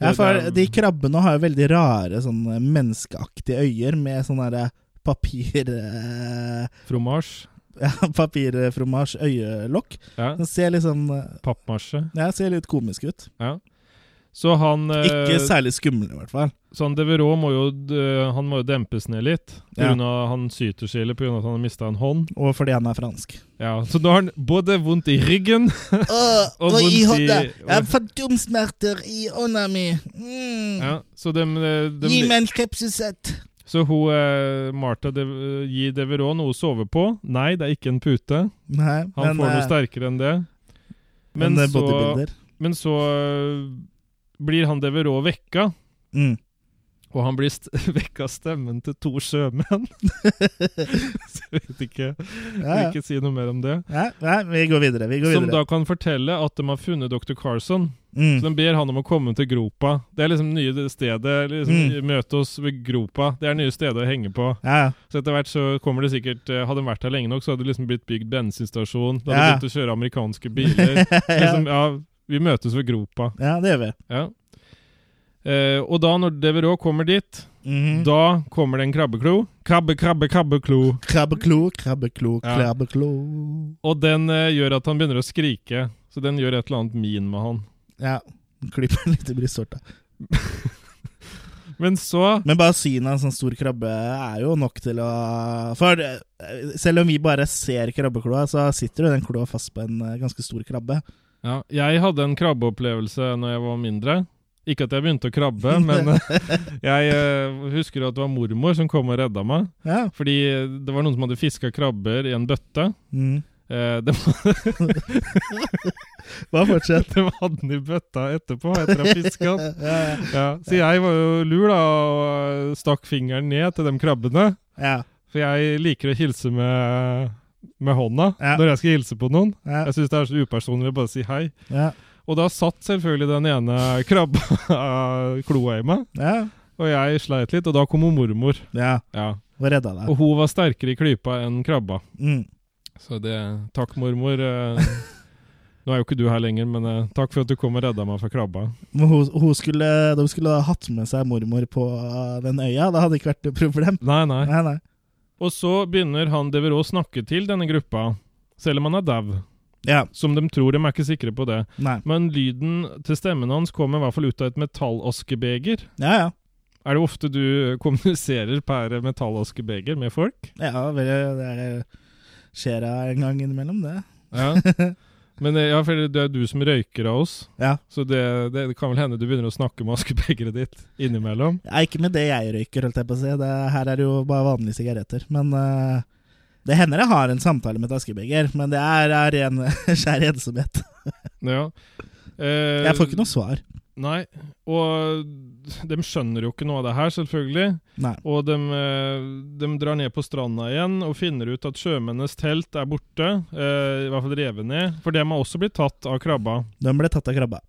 S2: ja,
S1: Det-
S2: for
S1: det er-
S2: de krabbene har jo veldig rare sånne menneskeaktige øyer med sånn derre papir... eh,
S1: Fromasj.
S2: Ja, papirfromasj øyelokk.
S1: Ja.
S2: Den ser liksom eh,
S1: Pappmasje.
S2: Ja, ser litt komisk ut.
S1: Så han eh,
S2: Ikke særlig skummel, i hvert fall.
S1: Sånn Deveraux må jo d- eh, Han må jo dempes ned litt. På
S2: Ja.
S1: grunn av han syter seg eller på grunn av at han har mista en hånd.
S2: Og fordi han er fransk.
S1: Ja, Så nå har han både vondt i ryggen Og og i vondt i- hånda. Jeg har
S2: fantomsmerter i ånda mi. Mm.
S1: ja, Så dem, eh, dem,
S2: meg en krepsusett.
S1: Så hun eh, Martha de, eh, gir Deveraux noe å sove på. Nei, det er ikke en pute.
S2: Nei,
S1: Han får
S2: men,
S1: noe
S2: eh,
S1: sterkere enn det. Men,
S2: men eh,
S1: så,
S2: bodybuilder.
S1: men så eh, blir han Deveraux vekka
S2: Mm.
S1: Og han blir st vekk av stemmen til to sjømenn. Så jeg vet ikke,
S2: Ja,
S1: vil
S2: ja.
S1: ikke si noe mer om det.
S2: Nei, nei, vi går videre. Vi går
S1: Som
S2: videre.
S1: da kan fortelle at de har funnet dr. Carson. Så
S2: Mm.
S1: de ber han om å komme til gropa. Det er liksom nye stedet.
S2: Mm.
S1: Liksom, Møte oss ved gropa. Det er nye stedet å henge på.
S2: Ja, ja.
S1: Så etter hvert så kommer det sikkert eh, Hadde de vært her lenge nok, så hadde det liksom blitt bygd bensinstasjon. Da hadde
S2: Ja.
S1: de begynt å kjøre amerikanske biler. liksom, ja, vi møtes ved gropa.
S2: ja, det gjør vi.
S1: Ja. Eh, og da når Devereux kommer dit,
S2: Mhm.
S1: da kommer det en krabbeklo. Krabbe, krabbe, krabbeklo.
S2: Krabbeklo, krabbeklo,
S1: Ja.
S2: krabbeklo.
S1: Og den eh, gjør at han begynner å skrike. Så den gjør et eller annet min med han.
S2: Ja. Klipper litt i brystvorta.
S1: Men så
S2: Men bare synet av en sånn stor krabbe er jo nok til å For eh, selv om vi bare ser krabbekloa, så sitter jo den kloa fast på en eh, ganske stor krabbe.
S1: ja, Jeg hadde en krabbeopplevelse når jeg var mindre. Ikke at jeg begynte å krabbe, men eh, jeg eh, husker at det var mormor som kom og redda meg.
S2: Ja.
S1: Fordi eh, det var noen som hadde fiska krabber i en bøtte.
S2: Mm.
S1: Eh, de,
S2: Bare fortsett.
S1: de hadde den i bøtta etterpå, etter å ha fiska den.
S2: Ja, ja.
S1: Ja, så jeg var jo lur, da, og stakk fingeren ned til de krabbene.
S2: ja,
S1: For jeg liker å hilse med, med hånda
S2: Ja.
S1: når jeg skal hilse på noen.
S2: ja,
S1: Jeg syns det er så upersonlig å bare si hei.
S2: ja,
S1: Og da satt selvfølgelig den ene krabba kloa i meg,
S2: ja.
S1: og jeg sleit litt, og da kom hun mormor.
S2: ja.
S1: Ja.
S2: Og redda deg.
S1: Og hun var sterkere i klypa enn krabba.
S2: Mm.
S1: Så det Takk, mormor. Eh, Nå er jo ikke du her lenger, men eh, takk for at du kom og redda meg fra krabba.
S2: Men hun, hun skulle, de skulle ha hatt med seg mormor på eh, den øya. Det hadde ikke vært noe problem.
S1: Nei, nei.
S2: Nei, nei.
S1: Og så begynner han Devereux å snakke til denne gruppa, selv om han er dau.
S2: Ja,
S1: Som de tror, de er ikke sikre på det.
S2: nei.
S1: Men lyden til stemmen hans kommer i hvert fall ut av et metallaskebeger.
S2: Ja, ja.
S1: Er det ofte du kommuniserer per metallaskebeger med folk?
S2: ja vel, det er- skjer en gang innimellom, det.
S1: Ja. Men eh, ja, for det er du som røyker av oss,
S2: Ja.
S1: så det, det, det kan vel hende du begynner å snakke med askebegeret ditt innimellom.
S2: Ja, ikke med det jeg røyker, holdt jeg på å si. Det, her er det jo bare vanlige sigaretter. Men eh, det hender jeg har en samtale med et askebeger, men det er, er ren skjær ensomhet.
S1: Ja. Eh,
S2: Jeg får ikke noe svar.
S1: Nei, og de skjønner jo ikke noe av det her, selvfølgelig.
S2: Nei.
S1: Og de, eh, de drar ned på stranda igjen og finner ut at sjømennenes telt er borte. eh, I hvert fall revet ned. For dem har også blitt tatt av krabba.
S2: Den ble tatt av krabba.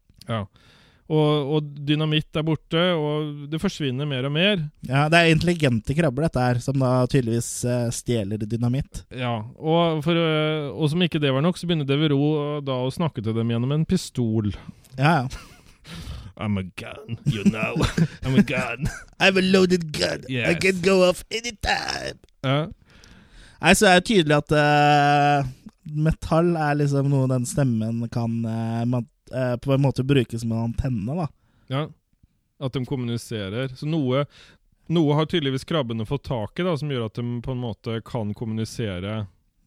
S1: Og, og dynamitt er borte, og det forsvinner mer og mer.
S2: Ja, Det er intelligente krabber, dette her, som da tydeligvis eh, stjeler dynamitt.
S1: Ja, Og, for, eh, og som ikke det var nok, så begynner Devereux eh, da å snakke til dem gjennom en pistol.
S2: Ja, ja.
S1: I'm a gun, you know. I'm a gun.
S2: I'm a loaded gun. I
S1: Yes.
S2: can go off anytime.
S1: Ja,
S2: Nei, så er det tydelig at eh, metall er liksom noe den stemmen kan eh, man, eh, på en måte bruke som en antenne, da.
S1: Ja, at de kommuniserer. Så noe, noe har tydeligvis krabbene fått tak i, da, som gjør at de på en måte kan kommunisere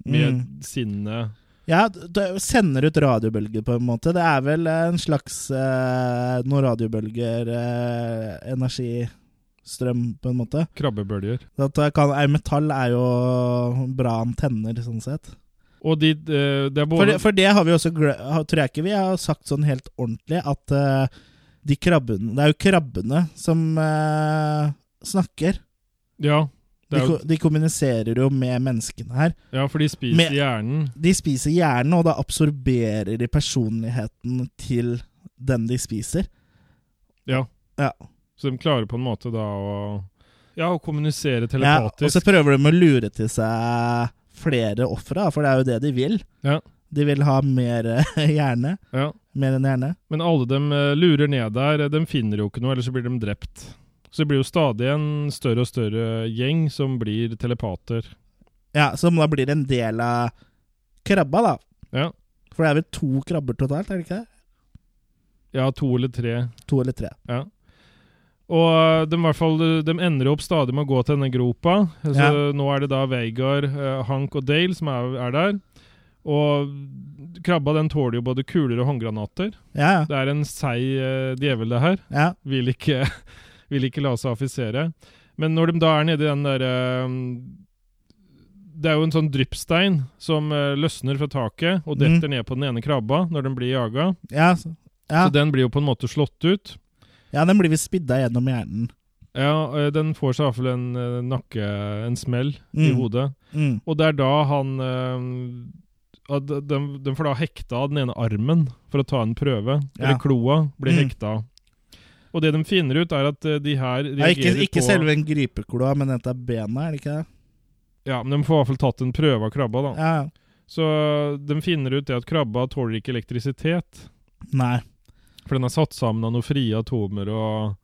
S1: med
S2: Mm.
S1: sinnet.
S2: Ja, det sender ut radiobølger på en måte. Det er vel en slags eh, noen radiobølger eh, energistrøm, på en måte.
S1: Krabbebølger.
S2: At det kan, eh, metall er jo bra antenner, sånn sett.
S1: Og de, eh, det er
S2: For
S1: både
S2: det, for det har vi også gle- har- tror jeg ikke vi har sagt sånn helt ordentlig, at eh, de krabbene Det er jo krabbene som eh, snakker.
S1: Ja, det
S2: De,
S1: er,
S2: ko
S1: jo-
S2: de kommuniserer jo med menneskene her.
S1: ja, for de spiser
S2: Med-
S1: hjernen.
S2: De spiser hjernen, og da absorberer de personligheten til den de spiser.
S1: Ja.
S2: Ja.
S1: Så de klarer på en måte da å Ja, å kommunisere
S2: Ja, og så
S1: telepatisk.
S2: prøver de å lure til seg flere ofre, da, for det er jo det de vil.
S1: Ja.
S2: De vil ha mer eh, hjerne.
S1: Ja,
S2: Mer enn hjerne.
S1: Men alle dem eh, lurer ned der. De finner jo ikke noe, ellers så blir de drept. Så det blir jo stadig en større og større gjeng som blir telepater.
S2: Ja, Som da blir en del av krabba, da.
S1: Ja.
S2: For det er vel to krabber totalt, er det ikke det?
S1: Ja, to eller tre.
S2: To eller tre.
S1: Og eh, de, i hvert fall, de ender opp stadig med å gå til denne gropa. Så
S2: Ja.
S1: Nå er det da Vegard, eh, Hank og Dale som er, er der. Og krabba den tåler jo både kuler og håndgranater.
S2: Ja, ja.
S1: Det er en seig eh, djevel, det her.
S2: ja.
S1: Vil ikke, vil ikke la seg affisere. Men når de da er nede i den derre Det er jo en sånn dryppstein som eh, løsner fra taket
S2: Mhm.
S1: og detter ned på den ene krabba når den blir jaga.
S2: Ja, så, ja.
S1: Så den blir jo på en måte slått ut.
S2: ja den blir visst spidda gjennom hjernen.
S1: Ja, eh, den får seg iallfall en eh, nakke... En smell i
S2: Mm.
S1: hodet.
S2: Mm.
S1: Og det er da han eh, at den, den får da hekta av den ene armen for å ta en prøve.
S2: Ja.
S1: Eller kloa blir
S2: Mm.
S1: hekta av. Og det de finner ut, er at eh, de her
S2: Ja, ikke
S1: reagerer
S2: ikke
S1: på
S2: selve en gripekloa, men dette er bena, er det ikke det?
S1: Ja, men de får i hvert fall tatt en prøve av krabba, da.
S2: Ja. ja.
S1: Så de finner ut det at krabba tåler ikke elektrisitet.
S2: Nei.
S1: For den er satt sammen av noen frie atomer og,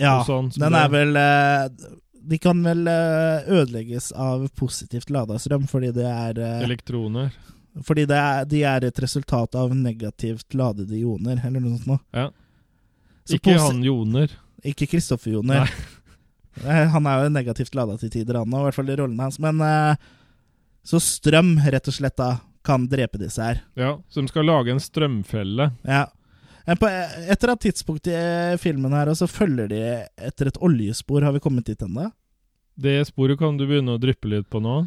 S2: Ja,
S1: og sånn. som
S2: den
S1: det-
S2: er vel eh, De kan vel eh, ødelegges av positivt lada strøm, fordi det er eh,
S1: Elektroner.
S2: Fordi det er, de er et resultat av negativt ladede ioner, eller noe sånt noe.
S1: Ja.
S2: Så
S1: ikke
S2: posi-
S1: han Joner.
S2: Ikke Kristoffer Joner. Eh, Han er jo negativt lada til tider, han òg, i hvert fall i rollen hans. Men eh, så strøm, rett og slett, da, kan drepe disse her.
S1: Ja, som skal lage en strømfelle.
S2: Ja. Eh, På eh, et eller annet tidspunkt i eh, filmen her, og så følger de etter et oljespor. Har vi kommet dit ennå?
S1: Det sporet kan du begynne å dryppe litt på nå.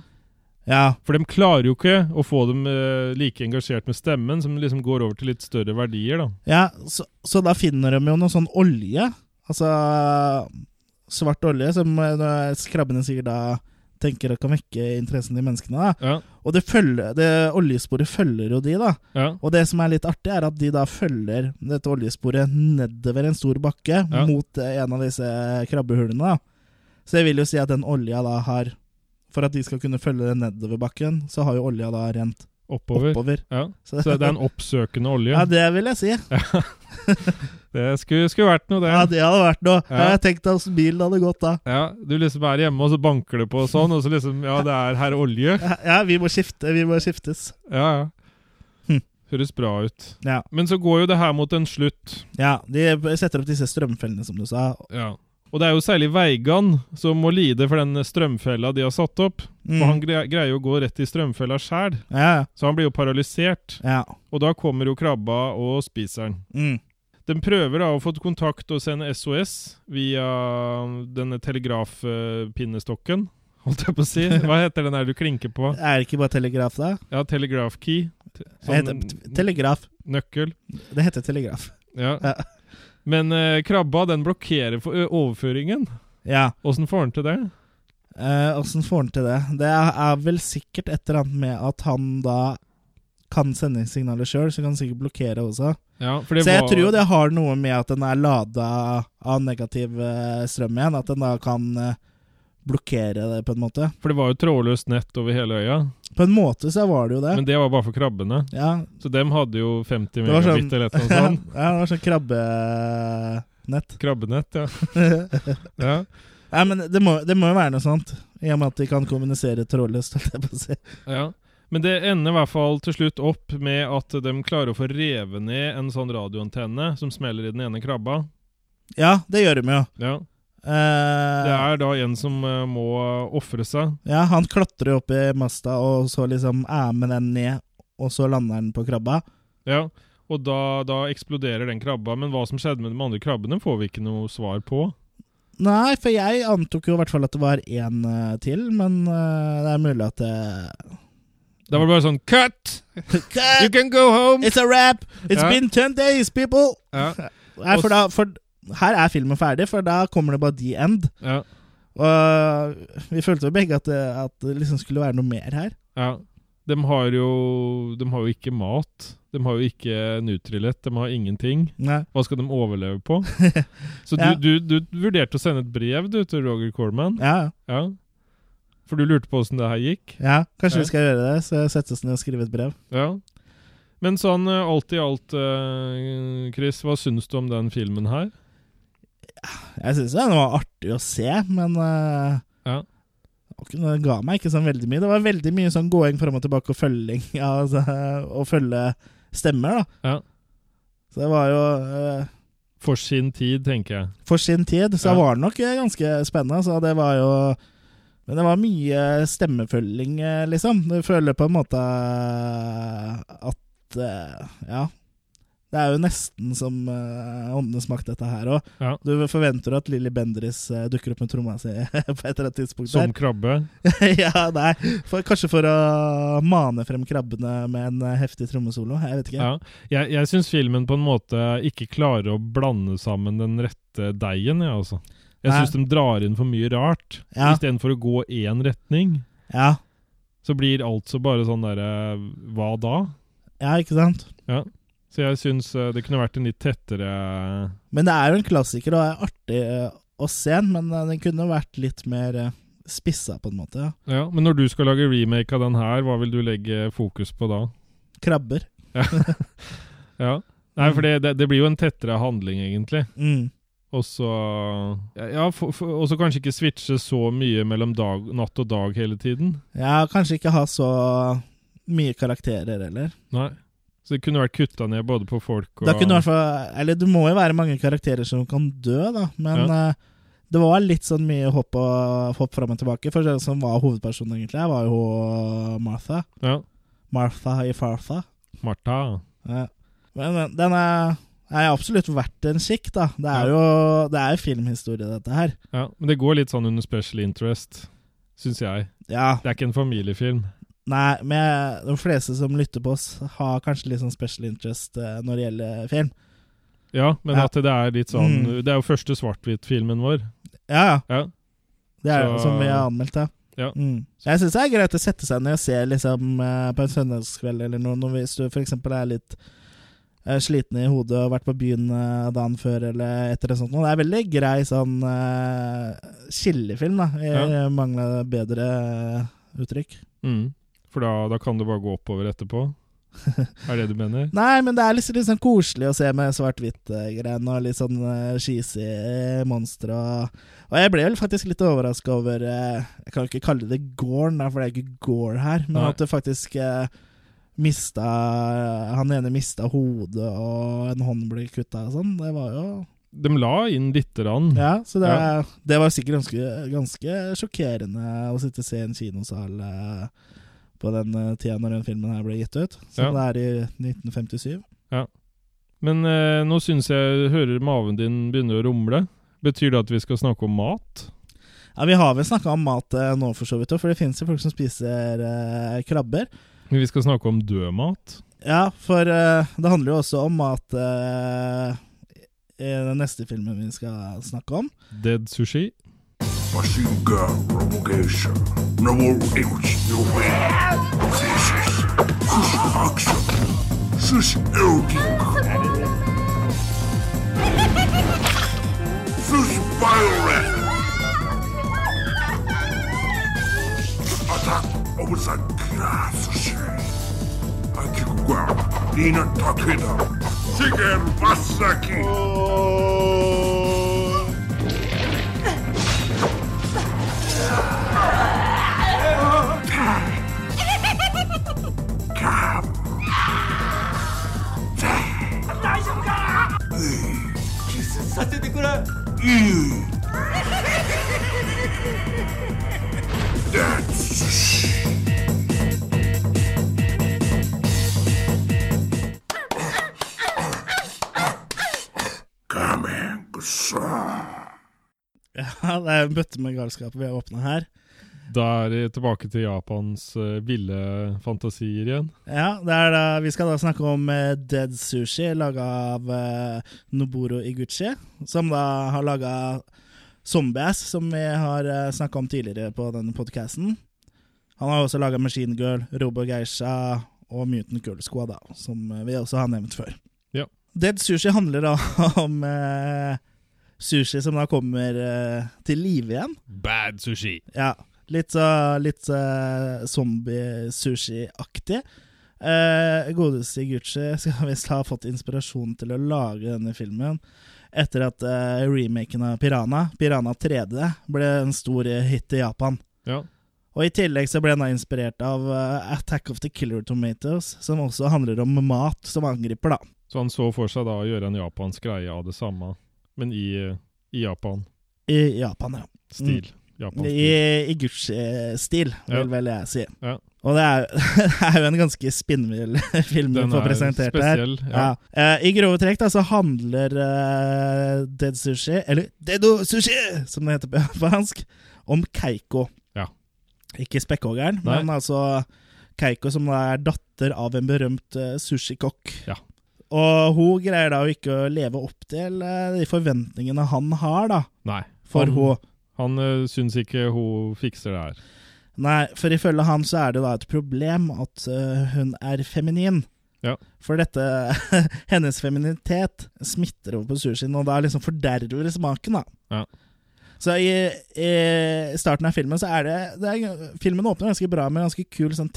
S2: Ja.
S1: For de klarer jo ikke å få dem eh, like engasjert med stemmen, som liksom går over til litt større verdier, da.
S2: ja så, så da finner de jo noe sånn olje. Altså svart olje, som eh, krabbene sikkert da tenker at kan vekke interessen til menneskene. da.
S1: Ja,
S2: Og det, følger, det oljesporet følger jo de, da.
S1: ja,
S2: Og det som er litt artig, er at de da følger dette oljesporet nedover en stor bakke
S1: Ja.
S2: mot eh, en av disse krabbehulene. da. Så det vil jo si at den olja da har For at de skal kunne følge den nedover bakken, så har jo olja da rent
S1: oppover.
S2: oppover.
S1: Ja. Så det er en oppsøkende olje.
S2: Ja, det vil jeg si.
S1: Det skulle, skulle vært noe,
S2: Ja,
S1: det.
S2: det hadde vært noe.
S1: Ja.
S2: Ja. Jeg tenkte at bilen hadde gått da.
S1: Ja, du liksom er hjemme, og så banker det på og sånn, og så liksom Ja, det er herr olje.
S2: Ja, vi må skifte. Vi må skiftes.
S1: Ja, ja.
S2: Hm.
S1: Høres bra ut.
S2: Ja.
S1: Men så går jo det her mot en slutt.
S2: ja. De setter opp disse strømfellene, som du sa.
S1: Ja. Og det er jo særlig Veigan som må lide for den strømfella de har satt opp. For han
S2: Mm.
S1: gre greier jo å gå rett i strømfella sjæl,
S2: Ja,
S1: så han blir jo paralysert.
S2: ja.
S1: Og da kommer jo krabba og spiser den.
S2: Mm.
S1: De prøver da å få kontakt og sende SOS via denne telegrafpinnestokken, holdt jeg på å si. Hva heter den der du klinker på?
S2: Er det ikke bare telegraf, da?
S1: Ja, telegraph key. Te-
S2: Det heter
S1: Sånn
S2: t- telegraf.
S1: nøkkel.
S2: Det heter telegraf.
S1: Ja.
S2: Ja.
S1: Men eh, krabba, den blokkerer for ø, overføringen.
S2: Ja.
S1: Åssen får han til det?
S2: Åssen får han til det? Det er vel sikkert et eller annet med at han da kan sende inn signalet sjøl, så kan han sikkert blokkere også.
S1: Ja, for
S2: Så jeg
S1: var-
S2: tror jo det har noe med at den er lada av negativ eh, strøm igjen, at den da kan eh, blokkere det på en måte.
S1: For det var jo trådløst nett over hele øya,
S2: På en måte så var det jo det.
S1: men det var bare for krabbene.
S2: ja.
S1: Så dem hadde jo 50
S2: Det var sånn-
S1: megabit eller et eller
S2: ja,
S1: annet sånt.
S2: det var sånn krabbenett.
S1: Krabbenett, ja. ja.
S2: Nei, men det må, det må jo være noe sånt, i og med at de kan kommunisere trådløst, holdt jeg på å si.
S1: Ja. Men det ender i hvert fall til slutt opp med at de klarer å få revet ned en sånn radioantenne som smeller i den ene krabba.
S2: Ja, det gjør de jo.
S1: Ja.
S2: Eh,
S1: Det er da en som eh, må ofre seg.
S2: Ja, han klatrer jo opp i masta, og så liksom er med den ned, og så lander den på krabba.
S1: Ja. Og da, da eksploderer den krabba. Men hva som skjedde med de andre krabbene, får vi ikke noe svar på.
S2: Nei, for jeg antok jo i hvert fall at det var én eh, til, men eh, det er mulig at det
S1: Da var det bare sånn Cut! You
S2: Cut!
S1: can go home!
S2: It's a wrap! It's
S1: Ja.
S2: been 10 days, people!
S1: Ja,
S2: Nei, for da for, Her er filmen ferdig, for da kommer det bare the end.
S1: ja,
S2: Og vi følte jo begge at det, at det liksom skulle være noe mer her.
S1: ja. De har jo De har jo ikke mat. De har jo ikke Nutrilett. De har ingenting.
S2: Nei.
S1: Hva skal de overleve på? Så du,
S2: Ja.
S1: du, du vurderte å sende et brev du, til Roger Corman?
S2: Ja,
S1: Ja. For du lurte på åssen det her gikk?
S2: ja. Kanskje
S1: Ja.
S2: vi skal gjøre det? Så sette oss ned og skrive et brev.
S1: Ja. Men sånn eh, alt i alt, eh, Chris, hva syns du om den filmen her?
S2: Jeg syns den var artig å se, men eh,
S1: Ja.
S2: det var ikke noe- det ga meg ikke sånn veldig mye. Det var veldig mye sånn gåing fram og tilbake og følging ja, altså, og følge stemmer, da.
S1: Ja.
S2: Så det var jo eh,
S1: For sin tid, tenker jeg.
S2: For sin tid så
S1: Ja.
S2: var det nok eh, ganske spennende, så det var jo Men det var mye stemmefølging, eh, liksom. Du føler på en måte at eh, Ja. Det er jo nesten som eh, åndenes makt, dette her òg.
S1: Ja.
S2: Du forventer at Lilly Bendriss eh, dukker opp med tromma si på et eller annet tidspunkt.
S1: Som krabbe.
S2: der. ja, nei. For, kanskje for å mane frem krabbene med en eh, heftig trommesolo. Jeg vet ikke.
S1: Ja. Jeg, jeg syns filmen på en måte ikke klarer å blande sammen den rette deigen, jeg, altså. Jeg
S2: Nei.
S1: syns de drar inn for mye rart.
S2: Ja.
S1: Istedenfor å gå én retning,
S2: Ja,
S1: så blir alt så bare sånn derre Hva da?
S2: ja ikke sant?
S1: Så jeg syns eh, det kunne vært en litt tettere
S2: Men det er jo en klassiker, og det er artig eh, å se den, men eh, den kunne vært litt mer eh, spissa, på en måte. ja.
S1: Ja, Men når du skal lage remake av den her, hva vil du legge fokus på da?
S2: Krabber.
S1: Ja. Nei, for det, det, det blir jo en tettere handling, egentlig.
S2: Mm.
S1: Og så Ja, for- for- og så kanskje ikke switche så mye mellom dag, natt og dag hele tiden.
S2: Ja, kanskje ikke ha så mye karakterer heller.
S1: Nei. Så det kunne vært kutta ned både på folk og
S2: Da kunne du i hvert fall Eller det må jo være mange karakterer som kan dø, da, men eh, det var litt sånn mye hopp, og, hopp fram og tilbake. For den som var hovedpersonen, egentlig, her var jo hun Martha.
S1: Ja.
S2: Martha i Fartha.
S1: Martha.
S2: Ja. Men, men den er, er absolutt verdt en kikk, da. Det
S1: Ja.
S2: er jo det er jo filmhistorie, dette her.
S1: Ja, men det går litt sånn under special interest, syns jeg.
S2: Ja.
S1: Det er ikke en familiefilm.
S2: Nei, men jeg- de fleste som lytter på oss, har kanskje litt sånn special interest eh, når det gjelder film.
S1: Ja, men
S2: Ja.
S1: at det er litt sånn
S2: Mm.
S1: Det er jo første svart-hvitt-filmen vår.
S2: Ja, ja.
S1: Ja.
S2: Det er jo
S1: Så-
S2: som vi har anmeldt, ja.
S1: Ja.
S2: Mm. Jeg syns det er greit å sette seg ned og se liksom, eh, på en søndagskveld eller noe, når vi- hvis du f.eks. er litt eh, sliten i hodet og har vært på byen eh, dagen før eller etter og sånt. noe. Det er veldig grei sånn eh, chillefilm, da. Jeg
S1: Ja.
S2: mangler bedre eh, uttrykk.
S1: Mm. For da, da kan det bare gå oppover etterpå. Er det du mener?
S2: Nei, men det er liksom litt sånn koselig å se med svart-hvitt-greiene og litt sånn eh, cheesy eh, monstre og Og jeg ble vel faktisk litt overraska over eh, Jeg kan jo ikke kalle det Gorn, da, for det er ikke Gore her, men
S1: Nei.
S2: at det faktisk eh, mista Han ene mista hodet, og en hånd ble kutta og sånn. Det var jo
S1: De la inn lite grann.
S2: Ja, så det,
S1: Ja.
S2: det var sikkert ganske, ganske sjokkerende å sitte og se en kinosal eh, på den eh, tida når den filmen her ble gitt ut, som
S1: Ja.
S2: det er i 1957.
S1: Men eh, nå syns jeg hører maven din begynne å rumle. Betyr det at vi skal snakke om mat?
S2: Ja, Vi har vel snakka om mat eh, nå, for så vidt, også, for det finnes jo folk som spiser eh, krabber.
S1: Men Vi skal snakke om død mat.
S2: Ja, for eh, det handler jo også om mat eh, i den neste filmen vi skal snakke om.
S1: Dead sushi.
S4: Mashinga Robogesha. Noble H. Your way. Delicious. Sushi action. Sushi erotic. Sushi violent. Attack of Sakura Sushi. Akikuga. Nina Takeda. Shigeru Masaki. You. That's sushi. Come and
S2: Ja, Det er en bøtte med galskap vi har åpna her.
S1: Da er vi tilbake til Japans eh, ville fantasier igjen.
S2: Ja, det er da, Vi skal da snakke om eh, Dead Sushi, laga av eh, Noboro Iguchi. Som da har laga Zombies, som vi har uh, snakka om tidligere på denne podkasten. Han har også laga Machine Girl, Robo Geisha og Mutant Girl Squad, da, som eh, vi også har nevnt før.
S1: Ja.
S2: Dead Sushi handler da om eh, sushi som da kommer eh, til live igjen.
S1: Bad sushi.
S2: Ja. Litt, så- litt eh, zombie-sushi-aktig. Eh, Godeste Gucci skal visst ha fått inspirasjon til å lage denne filmen etter at eh, remaken av Piranha, Piranha 3D, ble en stor hit i Japan.
S1: Ja.
S2: Og I tillegg så ble den da inspirert av eh, Attack of the Killer Tomatoes, som også handler om mat som angriper, da.
S1: Så han så for seg da å gjøre en japansk greie av det samme, men i, eh, i Japan-stil.
S2: I Japan, ja. Mm.
S1: Japan-stil.
S2: I, i Gucci-stil, vil
S1: Ja.
S2: vel jeg si.
S1: Ja.
S2: Og det er, det er jo en ganske spinnvill film vi
S1: Den
S2: får
S1: er
S2: presentert her.
S1: spesiell.
S2: Ja.
S1: Ja.
S2: Eh, I grove trekk da, så handler eh, Dead Sushi, eller Dedo Sushi, som det heter på japansk, om Keiko.
S1: Ja.
S2: Ikke spekkhoggeren,
S1: Nei.
S2: men altså Keiko som da er datter av en berømt eh, sushikokk.
S1: Ja.
S2: Og hun greier da jo ikke å leve opp til eh, de forventningene han har, da,
S1: Nei.
S2: for
S1: han,
S2: hun.
S1: Han øh, syns ikke hun fikser det her.
S2: Nei, for ifølge han så er det da et problem at eh, hun er feminin.
S1: Ja.
S2: For dette, hennes feminitet smitter over på sushien, og da liksom forderver det smaken, da.
S1: Ja.
S2: Så i, i starten av filmen så er det, det er, Filmen åpner ganske bra med en ganske kul sånn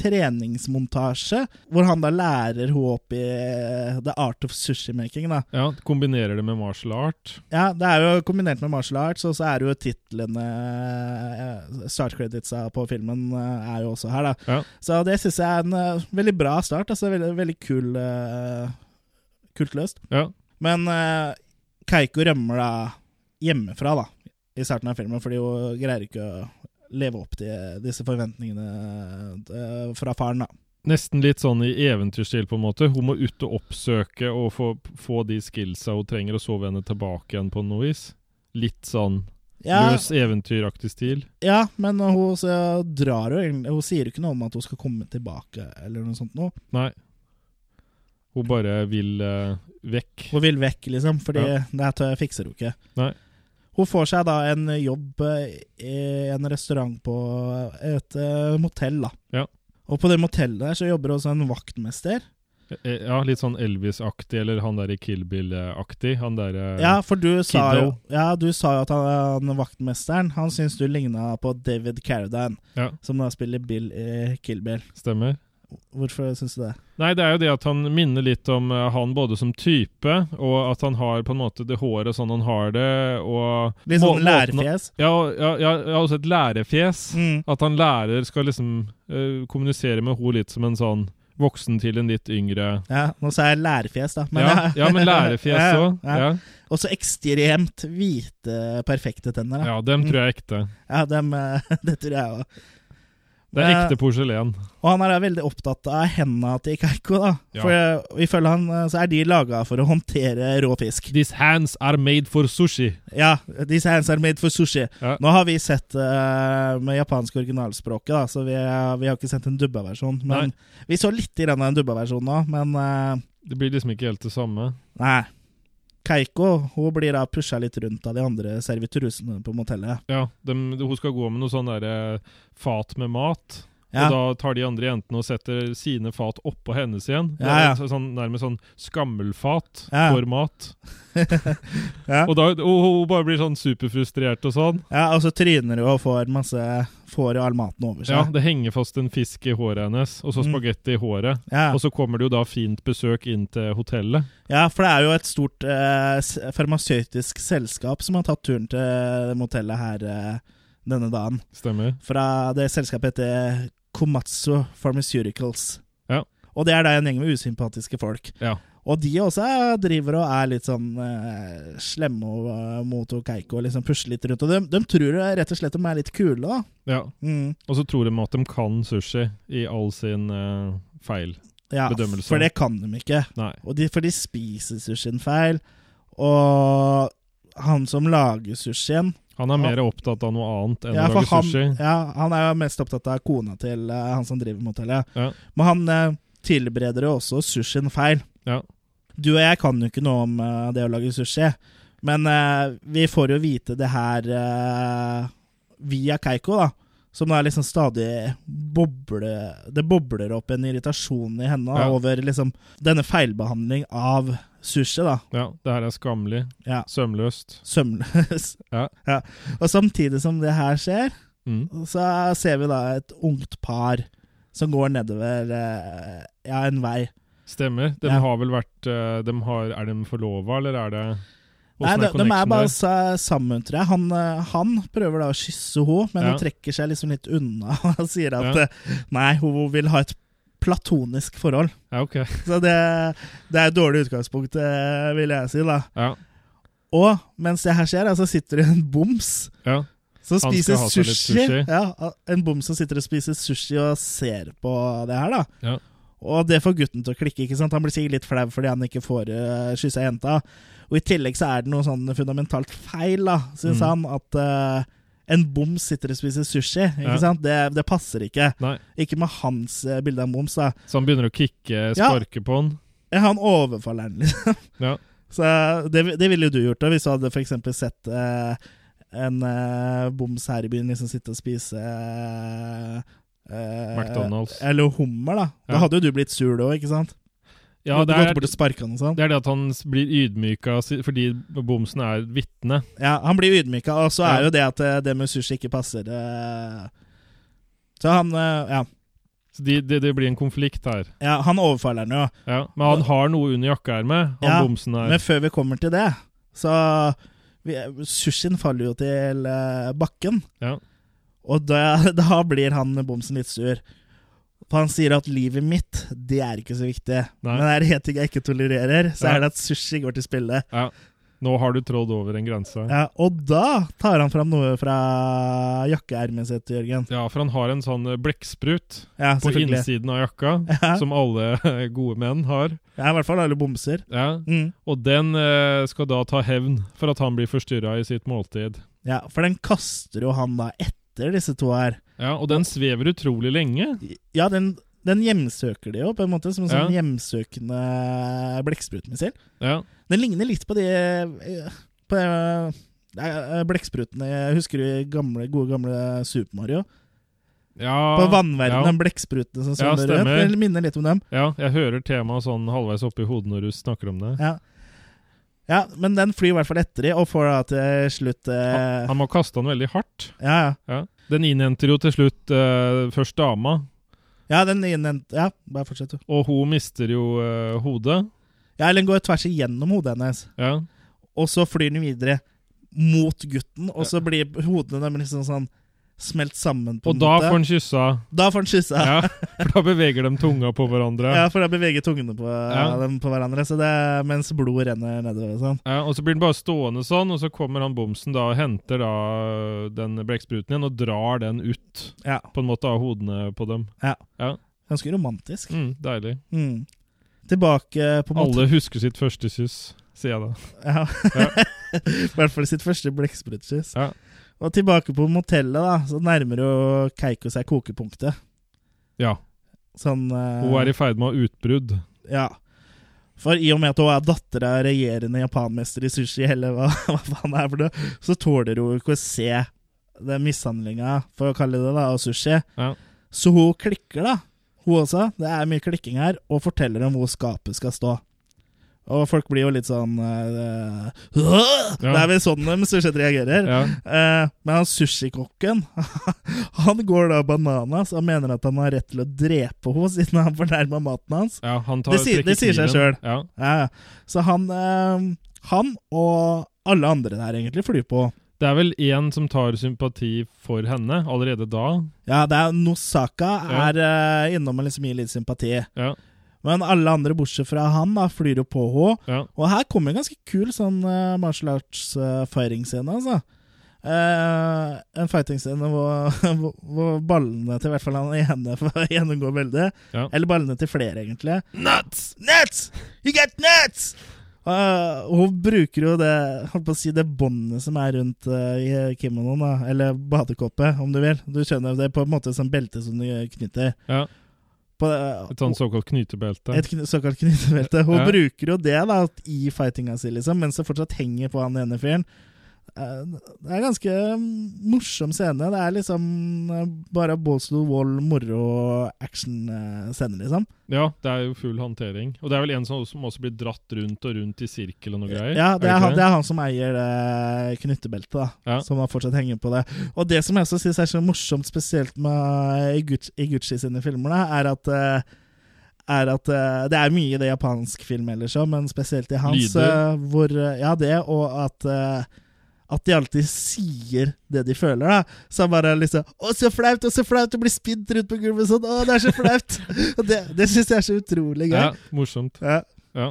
S2: treningsmontasje, hvor han da lærer hun opp i eh, the art of sushi-making, da.
S1: Ja, Kombinerer det med martial art.
S2: Ja, det er jo kombinert med martial arts, og så er jo titlene eh, Start creditsa på filmen eh, er jo også her, da.
S1: Ja.
S2: Så det syns jeg er en eh, veldig bra start. Altså veldig, veldig kul eh, Kult løst.
S1: Ja.
S2: Men eh, Keiko rømmer da hjemmefra, da, i starten av filmen, fordi hun greier ikke å leve opp til disse forventningene eh, fra faren, da.
S1: Nesten litt sånn i eventyrstil, på en måte. Hun må ut og oppsøke og få, få de skillsa hun trenger, og så vende tilbake igjen på noe vis. Litt sånn
S2: Ja,
S1: løs eventyraktig stil.
S2: ja men hun så drar jo egentlig Hun sier jo ikke noe om at hun skal komme tilbake, eller noe sånt noe.
S1: Nei. Hun bare vil eh, vekk.
S2: Hun vil vekk, liksom, fordi
S1: Ja.
S2: det her tø- fikser hun ikke.
S1: Nei.
S2: Hun får seg da en jobb eh, i en restaurant på et eh, motell, da.
S1: Ja.
S2: Og på det motellet der så jobber også en vaktmester.
S1: Eh, Ja, litt sånn Elvis-aktig, eller han der i Kill Bill-aktig. Han eh, derre
S2: Ja, for du sa jo
S1: Kiddo.
S2: Ja, du sa jo at han, han vaktmesteren Han syns du ligna på David Carradine,
S1: Ja.
S2: som da spiller Bill i Kill Bill.
S1: Stemmer.
S2: Hvorfor syns du det?
S1: Nei, det er jo det at han minner litt om eh, han både som type, og at han har på en måte det håret sånn han har det, og
S2: Litt
S1: må-
S2: sånn
S1: måten-
S2: lærfjes.
S1: Ja, ja, ja, ja, også et lærefjes.
S2: Mm.
S1: At han lærer skal liksom eh, kommunisere med henne litt som en sånn voksen til en litt yngre
S2: Ja, nå sa jeg lærfjes, da.
S1: ja, ja, men lærefjes
S2: Ja,
S1: òg.
S2: ja.
S1: Ja,
S2: Og så ekstremt hvite, perfekte tenner. Da.
S1: ja, dem tror jeg er ekte.
S2: Ja, dem, eh, det tror jeg òg.
S1: Det er ekte porselen.
S2: Og han er da veldig opptatt av hendene til Keiko, da.
S1: Ja.
S2: For eh, ifølge han eh, så er de laga for å håndtere rå fisk.
S1: These hands are made for sushi.
S2: Ja, disse hands are made for sushi.
S1: Ja.
S2: Nå har vi sett eh, med japansk originalspråket, da, så vi, vi har ikke sett en dubba versjon. Men vi så litt grann av en dubba versjon nå, men eh,
S1: Det blir liksom ikke helt det samme.
S2: nei. Keiko hun blir da pusha litt rundt av de andre servitrusene på motellet.
S1: Ja, dem, Hun skal gå med noe sånn derre fat med mat.
S2: Ja.
S1: Og da tar de andre jentene og setter sine fat oppå hennes igjen. Det
S2: Ja, ja.
S1: er så- Sånn, nærmest sånn skammelfat
S2: Ja.
S1: for mat.
S2: Ja.
S1: Og da, og hun bare blir sånn superfrustrert og sånn.
S2: Ja, og så tryner hun og får masse Får jo all maten over
S1: Ja,
S2: seg.
S1: Det henger fast en fisk i håret hennes, og så
S2: Mm.
S1: spagetti i håret.
S2: Ja.
S1: Og så kommer det jo da fint besøk inn til hotellet.
S2: ja, for det er jo et stort eh, s- farmasøytisk selskap som har tatt turen til motellet her eh, denne dagen.
S1: Stemmer.
S2: Fra det selskapet heter Komatsu Pharmaceuticals.
S1: Ja.
S2: Og det er da en gjeng med usympatiske folk.
S1: Ja.
S2: Og de også driver og er litt sånn eh, slemme og, eh, mot og Keiko og liksom pusler litt rundt. Og de, de tror jo rett og slett de er litt kule, da.
S1: ja.
S2: Mm.
S1: Og så tror de at de kan sushi i all sin eh, feil.
S2: Ja,
S1: Bedømmelse.
S2: For det kan de ikke.
S1: Nei.
S2: Og de, for de spiser sushien feil. Og han som lager sushien
S1: Han er
S2: Ja.
S1: mer opptatt av noe annet enn
S2: ja,
S1: å
S2: for
S1: lage
S2: han,
S1: sushi.
S2: ja, han er jo mest opptatt av kona til eh, han som driver motellet.
S1: Ja.
S2: Men han eh, tilbereder jo også sushien feil.
S1: Ja.
S2: Du og jeg kan jo ikke noe om eh, det å lage sushi, men eh, vi får jo vite det her eh, via Keiko, da. Som da liksom stadig boble, Det bobler opp en irritasjon i henne da,
S1: Ja.
S2: over liksom denne feilbehandling av sushi, da.
S1: ja, det her er skammelig.
S2: Ja.
S1: Sømløst.
S2: Sømløs.
S1: Ja.
S2: Og samtidig som det her skjer,
S1: Mm.
S2: så ser vi da et ungt par som går nedover eh, ja, en vei.
S1: Stemmer. De
S2: Ja.
S1: har vel vært eh, de har, Er de forlova, eller er det
S2: Nei,
S1: Hvordan
S2: de, de er
S1: connectionen
S2: bare
S1: der?
S2: sa- sammen, tror jeg. Han, eh, han prøver da å kysse henne, men
S1: Ja.
S2: hun trekker seg liksom litt unna og sier at
S1: Ja.
S2: eh, nei, hun vil ha et platonisk forhold.
S1: Ja, ok.
S2: Så det, det er et dårlig utgangspunkt, eh, vil jeg si, da.
S1: Ja.
S2: Og mens det her skjer, da, så sitter det en boms
S1: ja.
S2: som
S1: skal
S2: spiser
S1: ha seg litt
S2: sushi.
S1: sushi.
S2: Ja, en bom som sitter og spiser sushi og ser på det her, da.
S1: Ja.
S2: Og det får gutten til å klikke. ikke sant? Han blir sikkert litt flau fordi han ikke får uh, kyssa jenta. Og i tillegg så er det noe sånn fundamentalt feil, da, syns
S1: Mm.
S2: han, at eh, en boms sitter og spiser sushi. ikke
S1: Ja.
S2: sant? Det, det passer ikke.
S1: Nei.
S2: Ikke med hans eh, bilde av en boms, da.
S1: Så han begynner å kicke,
S2: Ja.
S1: sparke på han.
S2: Ja, han overfaller den, liksom.
S1: Ja.
S2: Så det, det ville jo du gjort da, hvis du hadde for eksempel sett eh, en eh, boms her i byen liksom sitte og spise eh, eh,
S1: McDonald's.
S2: Eller hummer, da. Da
S1: Ja.
S2: hadde jo du blitt sur, du òg, ikke sant?
S1: ja,
S2: du
S1: det
S2: gått
S1: er,
S2: bort og sparka han og sånn.
S1: det er det at han s- blir ydmyka si- fordi bomsen er et vitne.
S2: Ja, han blir ydmyka, og så
S1: Ja.
S2: er jo det at eh, det med sushi ikke passer eh, Så han eh, ja,
S1: Så de, det, det blir en konflikt her.
S2: ja, han overfaller den jo.
S1: Ja. Men han har noe under jakkeermet, han
S2: Ja,
S1: bomsen her.
S2: Men før vi kommer til det, så vi, Sushien faller jo til eh, bakken.
S1: Ja.
S2: Og da, da blir han bomsen litt sur. For han sier at livet mitt, det er ikke så viktig.
S1: Nei.
S2: Men er det én ting jeg ikke tolererer, så
S1: Ja.
S2: er det at sushi går til spille.
S1: Ja. Nå har du trådd over en grense.
S2: Ja, og da tar han fram noe fra jakkeermet sitt, Jørgen.
S1: Ja, for han har en sånn eh, blekksprut
S2: Ja,
S1: på
S2: selvfølgelig.
S1: innsiden av jakka,
S2: Ja.
S1: som alle gode menn har.
S2: Ja, I hvert fall alle bomser.
S1: Ja.
S2: Mm.
S1: Og den eh, skal da ta hevn for at han blir forstyrra i sitt måltid.
S2: Ja, For den kaster jo han da etter disse to her.
S1: Ja, Og den svever utrolig lenge.
S2: Ja, den, den hjemsøker de jo, på en måte, som en sånn
S1: Ja.
S2: hjemsøkende blekksprutmissil.
S1: Ja,
S2: Den ligner litt på de eh, På eh, eh, blekksprutene Jeg husker de gamle, gode gamle Super Mario.
S1: ja,
S2: På vannverdenen,
S1: ja.
S2: de blekksprutene som
S1: Ja,
S2: svømmer rundt.
S1: stemmer.
S2: Det minner litt om dem.
S1: ja, jeg hører temaet sånn halvveis oppi hodet når du snakker om det.
S2: Ja. ja, men den flyr i hvert fall etter de, og får da til slutt eh,
S1: Han må kaste han veldig hardt.
S2: Ja, ja.
S1: Ja. Den innhenter jo til slutt eh, først dama,
S2: Ja, den innhent... Ja, bare fortsett, du.
S1: og hun mister jo eh, hodet.
S2: Ja, eller den går tvers igjennom hodet hennes,
S1: Ja,
S2: og så flyr den videre mot gutten, og så blir hodene dem liksom sånn smelt sammen på
S1: Og
S2: en
S1: da
S2: måte.
S1: får han kyssa.
S2: da får den kyssa.
S1: Ja, for da beveger de tunga på hverandre.
S2: Ja, for da beveger tungene på,
S1: Ja.
S2: dem på hverandre, så det, mens blodet renner nedover og sånn.
S1: Ja, Eh, og så blir den bare stående sånn, og så kommer han bomsen da og henter da eh, den blekkspruten igjen og drar den ut
S2: Ja.
S1: på en måte av hodene på dem.
S2: Ganske romantisk.
S1: Mm, deilig.
S2: Mm. Tilbake på en måte.
S1: Alle husker sitt første kyss, sier jeg da.
S2: Ja.
S1: Ja.
S2: I hvert fall sitt første blekksprutskyss.
S1: Ja.
S2: Og tilbake på motellet, da, så nærmer jo Keiko seg kokepunktet.
S1: Ja,
S2: Sånn eh,
S1: hun er i ferd med å ha utbrudd.
S2: Ja. For i og med at hun er datter av regjerende japanmester i sushi, eller hva, hva faen det er for noe, så tåler hun ikke å se den mishandlinga, for å kalle det det, av sushi.
S1: Ja.
S2: Så hun klikker, da. Hun også. Det er mye klikking her. Og forteller om hvor skapet skal stå. Og folk blir jo litt sånn eh, «Åh!» Det er vel sånn de stort sett reagerer.
S1: Ja.
S2: Eh, men han sushikokken Han går da bananas og mener at han har rett til å drepe henne siden han fornærma maten hans.
S1: Ja, han tar
S2: Det sier- det sier seg
S1: trekker kniven.
S2: selv. Ja, ja. Så han, eh, han og alle andre der egentlig flyr på.
S1: Ja. Det er vel én som tar sympati for henne allerede da.
S2: Ja, det er Nosaka
S1: Ja.
S2: er eh, innom og liksom gir litt sympati.
S1: Ja,
S2: Men alle andre bortsett fra han da, flyr jo på henne.
S1: ja.
S2: Og her kommer en ganske kul sånn eh, martial arts-firing-scene, altså. Eh, en fighting-scene hvor, hvor, hvor ballene til i hvert fall han ene får gjennomgå veldig.
S1: Ja.
S2: Eller ballene til flere, egentlig. Nuts! Nuts! You get nuts! Eh, hun bruker jo det holdt på å si det båndet som er rundt eh, i kimonoen, da, eller badekoppet, om du vil. Du skjønner jo det er på en måte som belte som du knytter.
S1: ja.
S2: På, eh,
S1: Et sånn såkalt knytebelte.
S2: et kn såkalt knyttebelte. Hun
S1: Ja.
S2: bruker jo det da i fightinga si, liksom, mens det fortsatt henger på han ene fyren. Eh, Det er en ganske mm, morsom scene. Det er liksom eh, bare balls to the wall, moro, action-scene, liksom.
S1: Ja, det er jo full håndtering. Og det er vel en som, som også blir dratt rundt og rundt i sirkel og noe greier.
S2: Ja, det er,
S1: ikke
S2: han, det er han som eier det knyttebeltet, da.
S1: Ja.
S2: Som da fortsatt henger på det. Og det som jeg også syns er så morsomt, spesielt med Iguchi, Iguchi sine filmer, da, er at eh, er at eh, Det er mye i det japansk film ellers òg, men spesielt i hans.
S1: Lyder.
S2: eh, hvor, eh, ja, det, og at eh, at de alltid sier det de føler, da. Så han bare liksom 'Å, så flaut! Å, så flaut! Du blir spydd rundt på gulvet sånn! Å, det er så flaut!' Og det det syns jeg er så utrolig gøy.
S1: Ja, morsomt.
S2: Ja.
S1: Ja.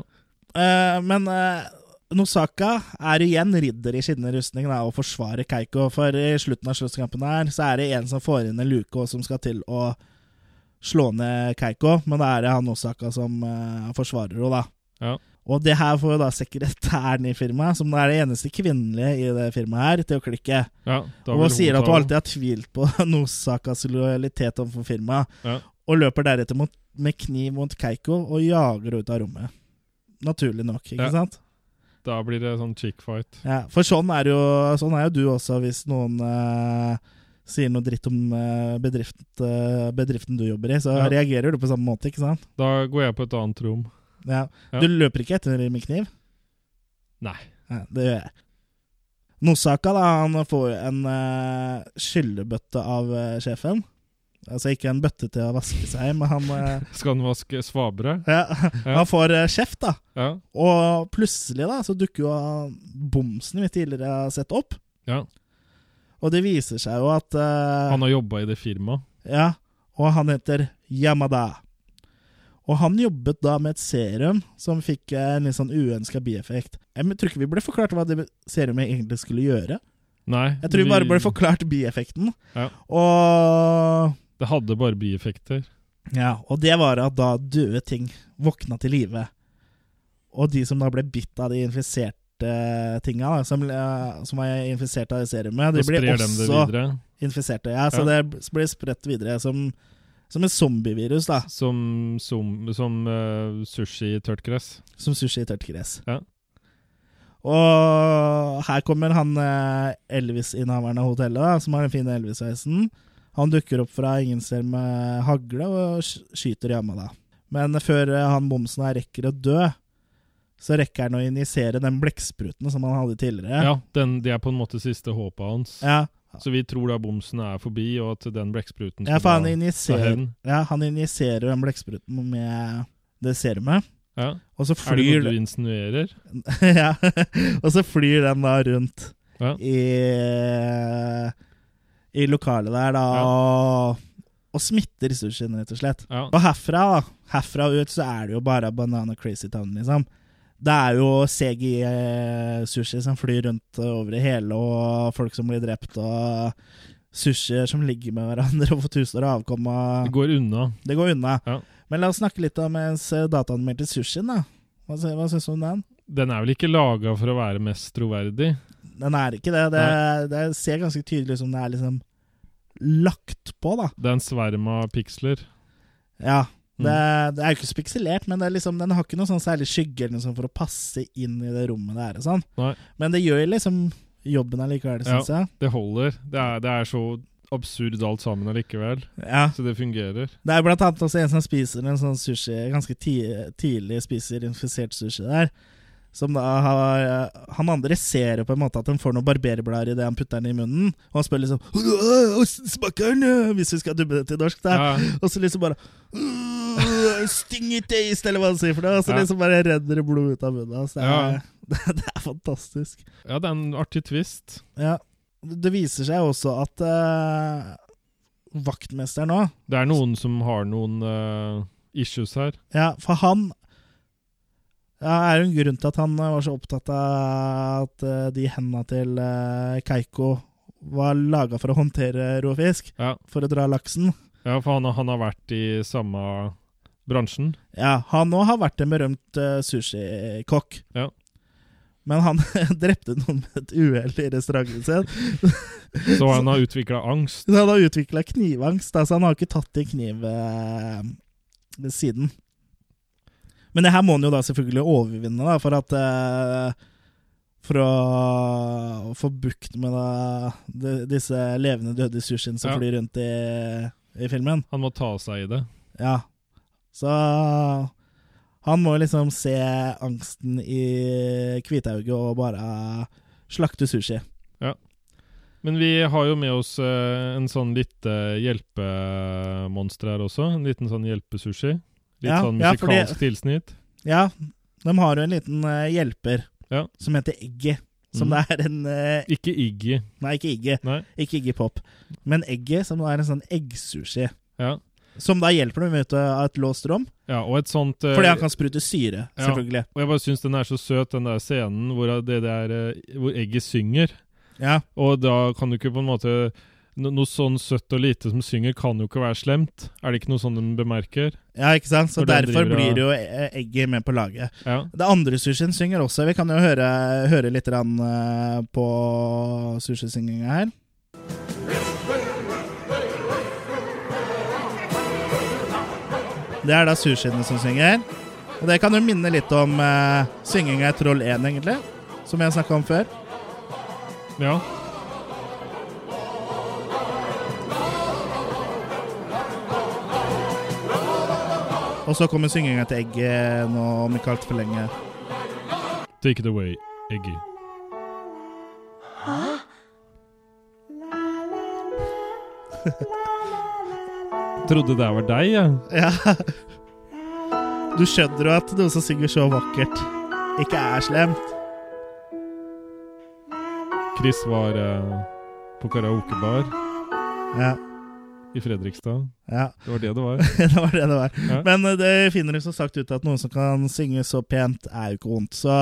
S2: Eh, men eh, Nosaka er igjen ridder i skinnende rustning da, og forsvarer Keiko. For i slutten av slåsskampen her så er det en som får inn en luke og som skal til å slå ned Keiko. Men da er det han Nosaka som eh, forsvarer henne, da.
S1: Ja.
S2: Og det her får jo da sekretæren i firmaet, som er det eneste kvinnelige i det firmaet her, til å klikke.
S1: Ja, da
S2: Og
S1: vil
S2: hun sier at
S1: ta
S2: hun
S1: den.
S2: alltid har tvilt på Nosakas lojalitet overfor firmaet,
S1: Ja.
S2: og løper deretter mot, med kniv mot Keiko og jager henne ut av rommet. naturlig nok, ikke
S1: Ja.
S2: sant?
S1: Da blir det sånn chick fight.
S2: Ja, for sånn er jo, sånn er jo du også hvis noen eh, sier noe dritt om eh, bedrift, eh, bedriften du jobber i, så
S1: Ja.
S2: reagerer du på samme måte, ikke sant?
S1: Da går jeg på et annet rom.
S2: Ja.
S1: Ja.
S2: Du løper ikke etter dem med kniv?
S1: Nei.
S2: Ja, det gjør jeg. Nosaka da, han får jo en eh, skyllebøtte av eh, sjefen. Altså ikke en bøtte til å vaske seg i, men han, eh,
S1: Skal han vaske svabre?
S2: ja, han får eh, kjeft, da.
S1: Ja.
S2: Og plutselig da, så dukker jo eh, bomsen vi tidligere har sett opp.
S1: ja.
S2: Og det viser seg jo at eh,
S1: Han har jobba i det firmaet.
S2: Ja, og han heter Yamada. Og han jobbet da med et serum som fikk eh, en litt sånn uønska bieffekt. Jeg men- tror ikke vi ble forklart hva det serumet egentlig skulle gjøre.
S1: Nei.
S2: Jeg tror vi bare ble forklart bieffekten.
S1: Ja.
S2: Og
S1: Det hadde bare bieffekter.
S2: Ja, og det var at da døde ting våkna til live. Og de som da ble bitt av de infiserte tinga, da, som, eh, som var infisert av det serumet, de
S1: Da
S2: ble
S1: sprer de det
S2: også
S1: videre.
S2: infiserte. Ja, så det ble spredt videre som, som et zombievirus, da.
S1: Som, som, som eh, sushi i tørt gress.
S2: Som sushi i tørt gress.
S1: Ja.
S2: Og her kommer han eh, Elvis-innehaveren av hotellet, da, som har den fine Elvis-heisen. Han dukker opp fra ingen steder med hagle og sk- skyter Yamada. Men før eh, han bomsen her rekker å dø, så rekker han å injisere den blekkspruten som han hadde
S1: Ja,
S2: tidligere.
S1: den, Det er på en måte siste håpet hans.
S2: Ja,
S1: Så vi tror da bomsen er forbi, og at den blekkspruten
S2: ja
S1: skal
S2: for han
S1: da- ta
S2: injiserer,
S1: hevn.
S2: ja, han injiserer den blekkspruten med det serumet.
S1: Ja.
S2: Og så
S1: Er det
S2: flyr
S1: noe du insinuerer?
S2: ja. Og så flyr den da rundt
S1: Ja.
S2: i, i lokalet der, da.
S1: Ja.
S2: Og, og smitter sushien, rett og slett.
S1: Ja.
S2: Og herfra da, herfra ut så er det jo bare Banana Crazy Town, liksom. Det er jo CGI-sushi som flyr rundt over det hele, og folk som blir drept, og sushier som ligger med hverandre og får tusener av avkom. og-
S1: Det går unna.
S2: Det går unna.
S1: Ja.
S2: Men la oss snakke litt om ens dataanmeldte sushien, da. Hva, sy- hva syns du om den?
S1: Den er vel ikke laga for å være mest troverdig?
S2: Den er ikke det. Det, det ser ganske tydelig ut som det er liksom lagt på, da.
S1: Det er en sverm av piksler.
S2: Ja.
S1: Mm.
S2: Det, det er jo ikke så pikselert, men det er liksom, den har ikke noe sånn særlig skygge eller noe sånt for å passe inn i det rommet det er. og sånn.
S1: Nei.
S2: Men det gjør liksom jobben allikevel,
S1: Ja.
S2: syns jeg.
S1: Det holder. Det er, det er så absurd alt sammen allikevel.
S2: Ja.
S1: Så det fungerer.
S2: Det er blant annet også en som spiser en sånn sushi ganske ti tidlig, spiser infisert sushi der. Som da har Han andre ser jo på en måte at han får noen barberblader idet han putter den i munnen. Og han spør liksom «Åh, åssen smaker den? øh, Hvis vi skal dubbe det til norsk, da.
S1: Ja.
S2: Og så liksom bare «Åh, Stingy taste, eller hva han sier for noe. Og så
S1: Ja.
S2: liksom bare renner det blod ut av munnen hans. Det, er-
S1: Ja.
S2: det, det er fantastisk.
S1: ja, det er en artig twist.
S2: Ja. Det viser seg også at eh, vaktmesteren òg
S1: Det er noen som har noen eh, issues her.
S2: Ja, for han ja, er jo en grunn til at han eh, var så opptatt av at eh, de hendene til eh, Keiko var laga for å håndtere rå fisk,
S1: Ja.
S2: for å dra laksen.
S1: Ja, for han, han har vært i samme bransjen.
S2: Ja, han òg har vært en berømt eh, sushikokk.
S1: Ja.
S2: Men han drepte noen med et uhell i restauranten sin.
S1: Så han har utvikla angst.
S2: Så han har utvikla knivangst, da, så han har ikke tatt i kniv eh, siden. Men det her må han jo da selvfølgelig overvinne, da, for at eh, For å få bukt med da, de, disse levende døde sushiene som
S1: Ja.
S2: flyr rundt i, i filmen.
S1: Han må ta seg i det.
S2: Ja. Så han må liksom se angsten i hvithauget og bare slakte sushi.
S1: Men vi har jo med oss eh, en sånn lite hjelpemonster her også. En liten sånn hjelpesushi. Litt
S2: Ja,
S1: sånn
S2: ja, fordi-
S1: musikalsk tilsnitt.
S2: Ja, de har jo en liten eh, hjelper
S1: Ja.
S2: som heter Eggy. Som
S1: Mm.
S2: det er en eh,
S1: Ikke Iggy.
S2: Nei, ikke Iggy.
S1: Nei.
S2: Ikke Iggy Pop. Men Eggy, som da er en sånn eggsushi.
S1: Ja.
S2: Som da hjelper dem ut av et låst rom,
S1: ja og et sånt eh,
S2: fordi han kan sprute syre,
S1: ja.
S2: selvfølgelig.
S1: Og jeg bare syns den er så søt, den der scenen hvor, det der, eh, hvor egget synger.
S2: Ja.
S1: Og da kan du ikke på en måte no, Noe sånn søtt og lite som synger, kan jo ikke være slemt. Er det ikke noe sånn den bemerker?
S2: ja, ikke sant? Så
S1: Når den
S2: derfor
S1: driver og-
S2: blir jo eh, Eggy med på laget.
S1: Ja.
S2: Det andre sushien synger også. Vi kan jo høre, høre litt grann, eh, på sushisynginga her. Det er da sushiene som synger. Og det kan jo minne litt om eh, synginga i Troll 1, egentlig. Som jeg snakka om før.
S1: Ja.
S2: Og så kommer synginga til Egget nå om ikke altfor lenge.
S1: Take it away, Eggy. Trodde det var deg, jeg.
S2: Ja. Du skjønner jo at noen som synger så vakkert, ikke er slemt.
S1: Chris var eh, på karaokebar
S2: Ja.
S1: i Fredrikstad.
S2: ja.
S1: Det var det det var.
S2: det var det det var.
S1: Ja.
S2: Men eh, det finner du som sagt ut at noen som kan synge så pent, er jo ikke vondt. Så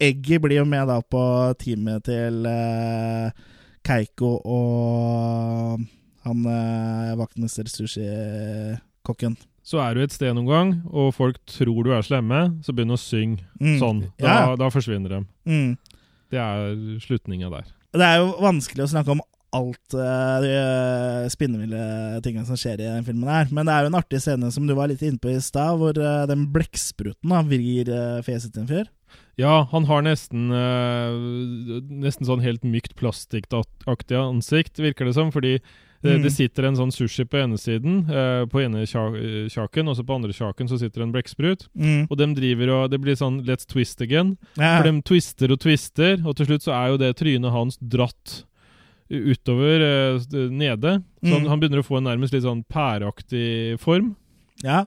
S2: Eggy blir jo med da på teamet til eh, Keiko og han uh, vaktmester sushikokken.
S1: Så er du et sted noen gang, og folk tror du er slemme, så begynn å synge
S2: Mm.
S1: sånn. Da,
S2: Ja.
S1: da forsvinner de.
S2: Mm.
S1: Det er slutninga der.
S2: Det er jo vanskelig å snakke om alt eh, de spinnville tingene som skjer i den filmen her, men det er jo en artig scene som du var litt inne på i stad, hvor eh, den blekkspruten da vrir eh, fjeset til en fyr.
S1: Ja, han har nesten eh, Nesten sånn helt mykt plastikkaktig ansikt, virker det som. Fordi eh, det,
S2: Mm.
S1: det sitter en sånn sushi på ene siden, eh, på ene kja eh, kjaken, og så på andre kjaken så sitter en blekksprut.
S2: Mm.
S1: Og dem driver og Det blir sånn Let's twist again.
S2: Ja.
S1: For dem twister og twister, og til slutt så er jo det trynet hans dratt utover eh, s- nede. Så han,
S2: Mm.
S1: han begynner å få en nærmest litt sånn pæreaktig form.
S2: ja.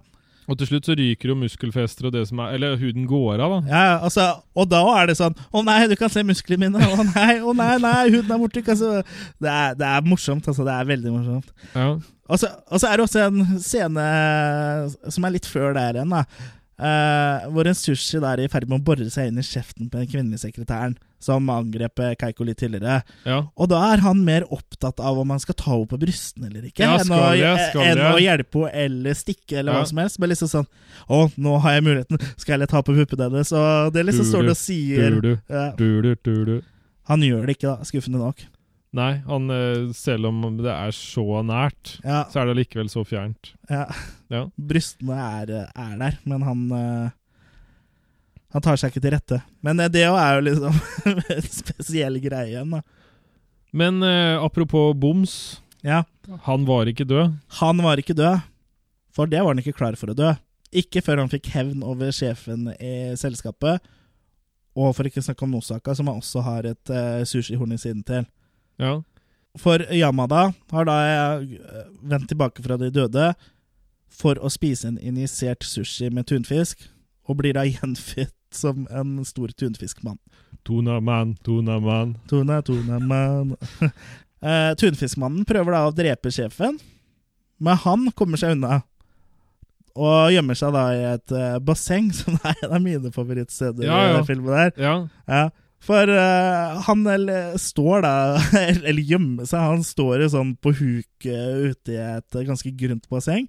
S1: Og til slutt så ryker jo muskelfester og det som er Eller huden går av, da.
S2: Ja, altså, og da er det sånn Å nei, du kan se musklene mine. Å nei, å nei, nei, huden er borte. ikke? Altså, det, er, det er morsomt, altså. Det er veldig morsomt.
S1: Ja.
S2: Og så og så er det også en scene som er litt før der igjen, da. eh, hvor en sushi der er i ferd med å bore seg inn i kjeften på den kvinnelige sekretæren som angrep eh, Keiko litt tidligere.
S1: ja.
S2: Og da er han mer opptatt av om han skal ta henne på brystene eller ikke,
S1: Ja,
S2: enn, å,
S1: skal jeg, skal
S2: enn å
S1: jeg?
S2: hjelpe henne eller stikke eller
S1: Ja.
S2: hva som helst. Men liksom sånn Å, nå har jeg muligheten, skal jeg ta på puppene hennes? Og det liksom
S1: Burde,
S2: står det og sier
S1: burde.
S2: Ja.
S1: Du, du, du, du.
S2: Han gjør det ikke, da, skuffende nok.
S1: Nei, han, eh, selv om det er så nært,
S2: Ja,
S1: så er det likevel så fjernt.
S2: ja.
S1: Ja.
S2: Brystene er, er der, men han eh, Han tar seg ikke til rette. Men eh, det jo er jo liksom en spesiell greie igjen, da.
S1: Men eh, apropos boms,
S2: Ja.
S1: han var ikke død.
S2: Han var ikke død, for det var han ikke klar for å dø. Ikke før han fikk hevn over sjefen i selskapet, og for ikke å snakke om Nosaka, som han også har et uh, sushihorn i siden til.
S1: Ja.
S2: For Yamada har da eh, vendt tilbake fra de døde for å spise en injisert sushi med tunfisk, og blir da gjenfødt som en stor tunfiskmann.
S1: Tuna man, tuna man.
S2: Tuna, tuna, man. Eh, tunfiskmannen prøver da å drepe sjefen, men han kommer seg unna. Og gjemmer seg da i et eh, basseng, som er en av mine favorittsteder
S1: Ja,
S2: i
S1: ja.
S2: den filmen der.
S1: Ja.
S2: Ja. For eh, han eller, står da Eller gjemmer seg. Han står jo sånn på huk eh, ute i et eh, ganske grunt basseng.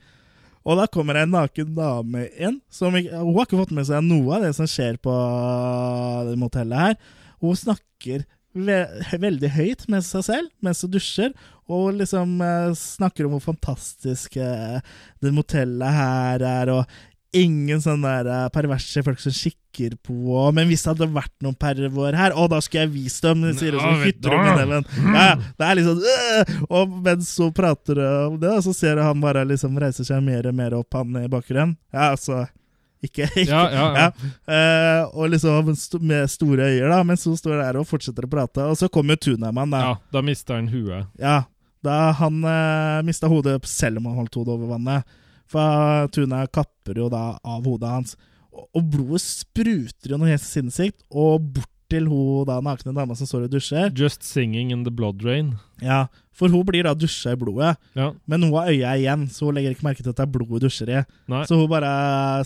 S2: Og da kommer ei naken dame inn. Som ikke, hun har ikke fått med seg noe av det som skjer på eh, det motellet her. Hun snakker ve veldig høyt med seg selv mens hun dusjer, og liksom eh, snakker om hvor fantastisk eh, det motellet her er, og ingen sånne der, eh, perverse folk som kikker på og, Men hvis det hadde vært noen perver her, å, da skulle jeg vist dem! Sier hun som
S1: Ja, vet du. Mm.
S2: hytter om i neven. Ja, det er liksom øh! Og mens hun prater om det, så ser jeg han bare liksom reiser seg mer og mer opp, han i bakgrunnen. Ja, altså ikke, ikke
S1: Ja, ja, ja.
S2: Eh, og liksom st med store øyer, da, mens hun står der og fortsetter å prate. Og så kommer jo Tunaman, da.
S1: ja, da mister han huet.
S2: Ja. da han uh, mista hodet selv om han holdt hodet over vannet. For Tuna kapper jo da av hodet hans. Og, og blodet spruter jo noe helt sinnssykt. Og bort til hun da nakne dama som står og dusjer.
S1: Just singing in the blood rain.
S2: Ja, For hun blir da dusja i blodet.
S1: Ja.
S2: Men hun har øya igjen, så hun legger ikke merke til at det er blod hun dusjer i.
S1: Nei.
S2: Så hun bare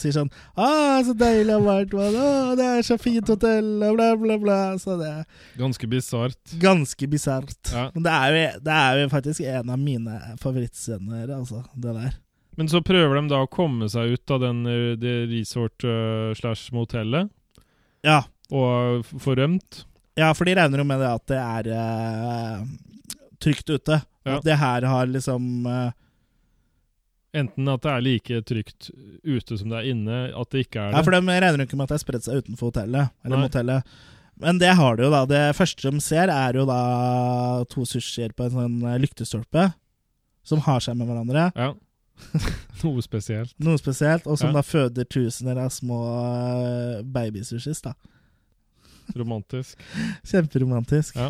S2: sier sånn Å, så deilig og varmt vann. Å, det er så fint hotell, og bla, bla, bla. Så det er
S1: Ganske bisart.
S2: ganske bisart.
S1: Ja.
S2: Men det er, jo, det er jo faktisk en av mine favorittscener, altså. Det der.
S1: Men så prøver de da å komme seg ut av den, eh, det resort-slash-motellet,
S2: Ja.
S1: og f- får rømt.
S2: ja, for de regner jo med det at det er eh, trygt ute.
S1: Ja.
S2: At det her har liksom eh,
S1: Enten at det er like trygt ute som det er inne, at det ikke er
S2: Ja,
S1: det.
S2: for de regner jo ikke med at det har spredt seg utenfor hotellet. Eller
S1: Nei.
S2: motellet. Men det har det jo, da. Det første de ser, er jo da to sushier på en sånn eh, lyktestolpe. Som har seg med hverandre.
S1: Ja. Noe spesielt.
S2: Noe spesielt. Og som
S1: Ja.
S2: da føder tusener av små eh, babysushis, da.
S1: Romantisk.
S2: Kjemperomantisk.
S1: Ja.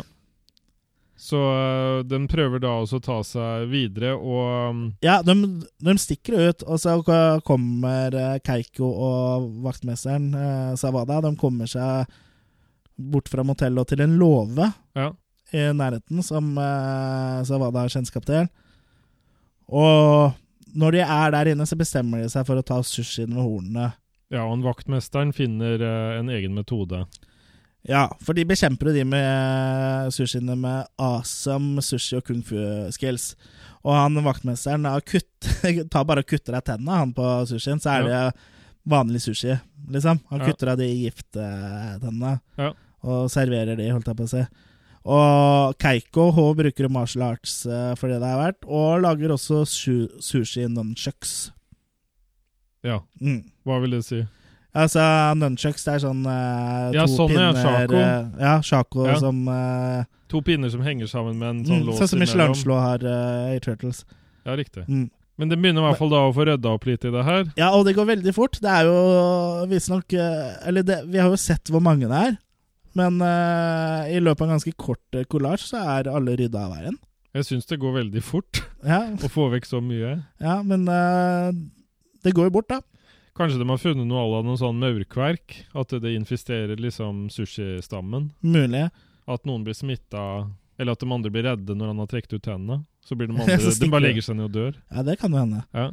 S1: Så øh, den prøver da også å ta seg videre, og um,
S2: Ja, de, de stikker ut, og så k- kommer eh, Keiko og vaktmesteren eh, Sawada. De kommer seg bort fra motellet og til en låve
S1: ja.
S2: i nærheten som eh, Sawada har kjennskap til. Og når de er der inne, så bestemmer de seg for å ta sushien med hornene.
S1: ja, og en vaktmesteren finner øh, en egen metode.
S2: Ja, for de bekjemper jo de med sushiene med awesome sushi og kung fu skills. Og han vaktmesteren da, kutt- tar bare og kutter av tennene han på sushien, så er det vanlig sushi, liksom. Han
S1: Ja.
S2: kutter av de gifttennene
S1: Ja.
S2: og serverer de, holdt jeg på å si. Og Keiko hun bruker jo martial arts eh, for det det er verdt, og lager også su sushi nunchucks.
S1: Ja,
S2: Mm.
S1: hva vil det si?
S2: Altså, nunchucks det er sånn eh,
S1: Ja,
S2: to
S1: sånn, ja,
S2: pinner
S1: shako.
S2: eh, ja, shako
S1: Ja.
S2: som eh,
S1: To pinner som henger sammen med en sånn
S2: Mm,
S1: lås
S2: Sånn
S1: imellom.
S2: som Michelangelo har eh, i Turtles.
S1: Ja, riktig.
S2: Mm.
S1: Men det begynner i hvert fall da å få rydda opp litt i det her.
S2: Ja, og det går veldig fort. Det er jo visstnok eh, Eller det, vi har jo sett hvor mange det er. Men eh, i løpet av en ganske kort eh, kollasj så er alle rydda av veien.
S1: Jeg syns det går veldig fort
S2: Ja,
S1: å få vekk så mye.
S2: ja men eh, det går jo bort, da.
S1: Kanskje de har funnet noe à la noe sånn maurkverk? At det infisterer liksom sushistammen?
S2: Mulig.
S1: At noen blir smitta, eller at de andre blir redde når han har trukket ut tennene? Så blir de
S2: Så
S1: andre De
S2: stikker
S1: bare
S2: de.
S1: legger seg ned og dør.
S2: Ja, det kan jo hende.
S1: Ja.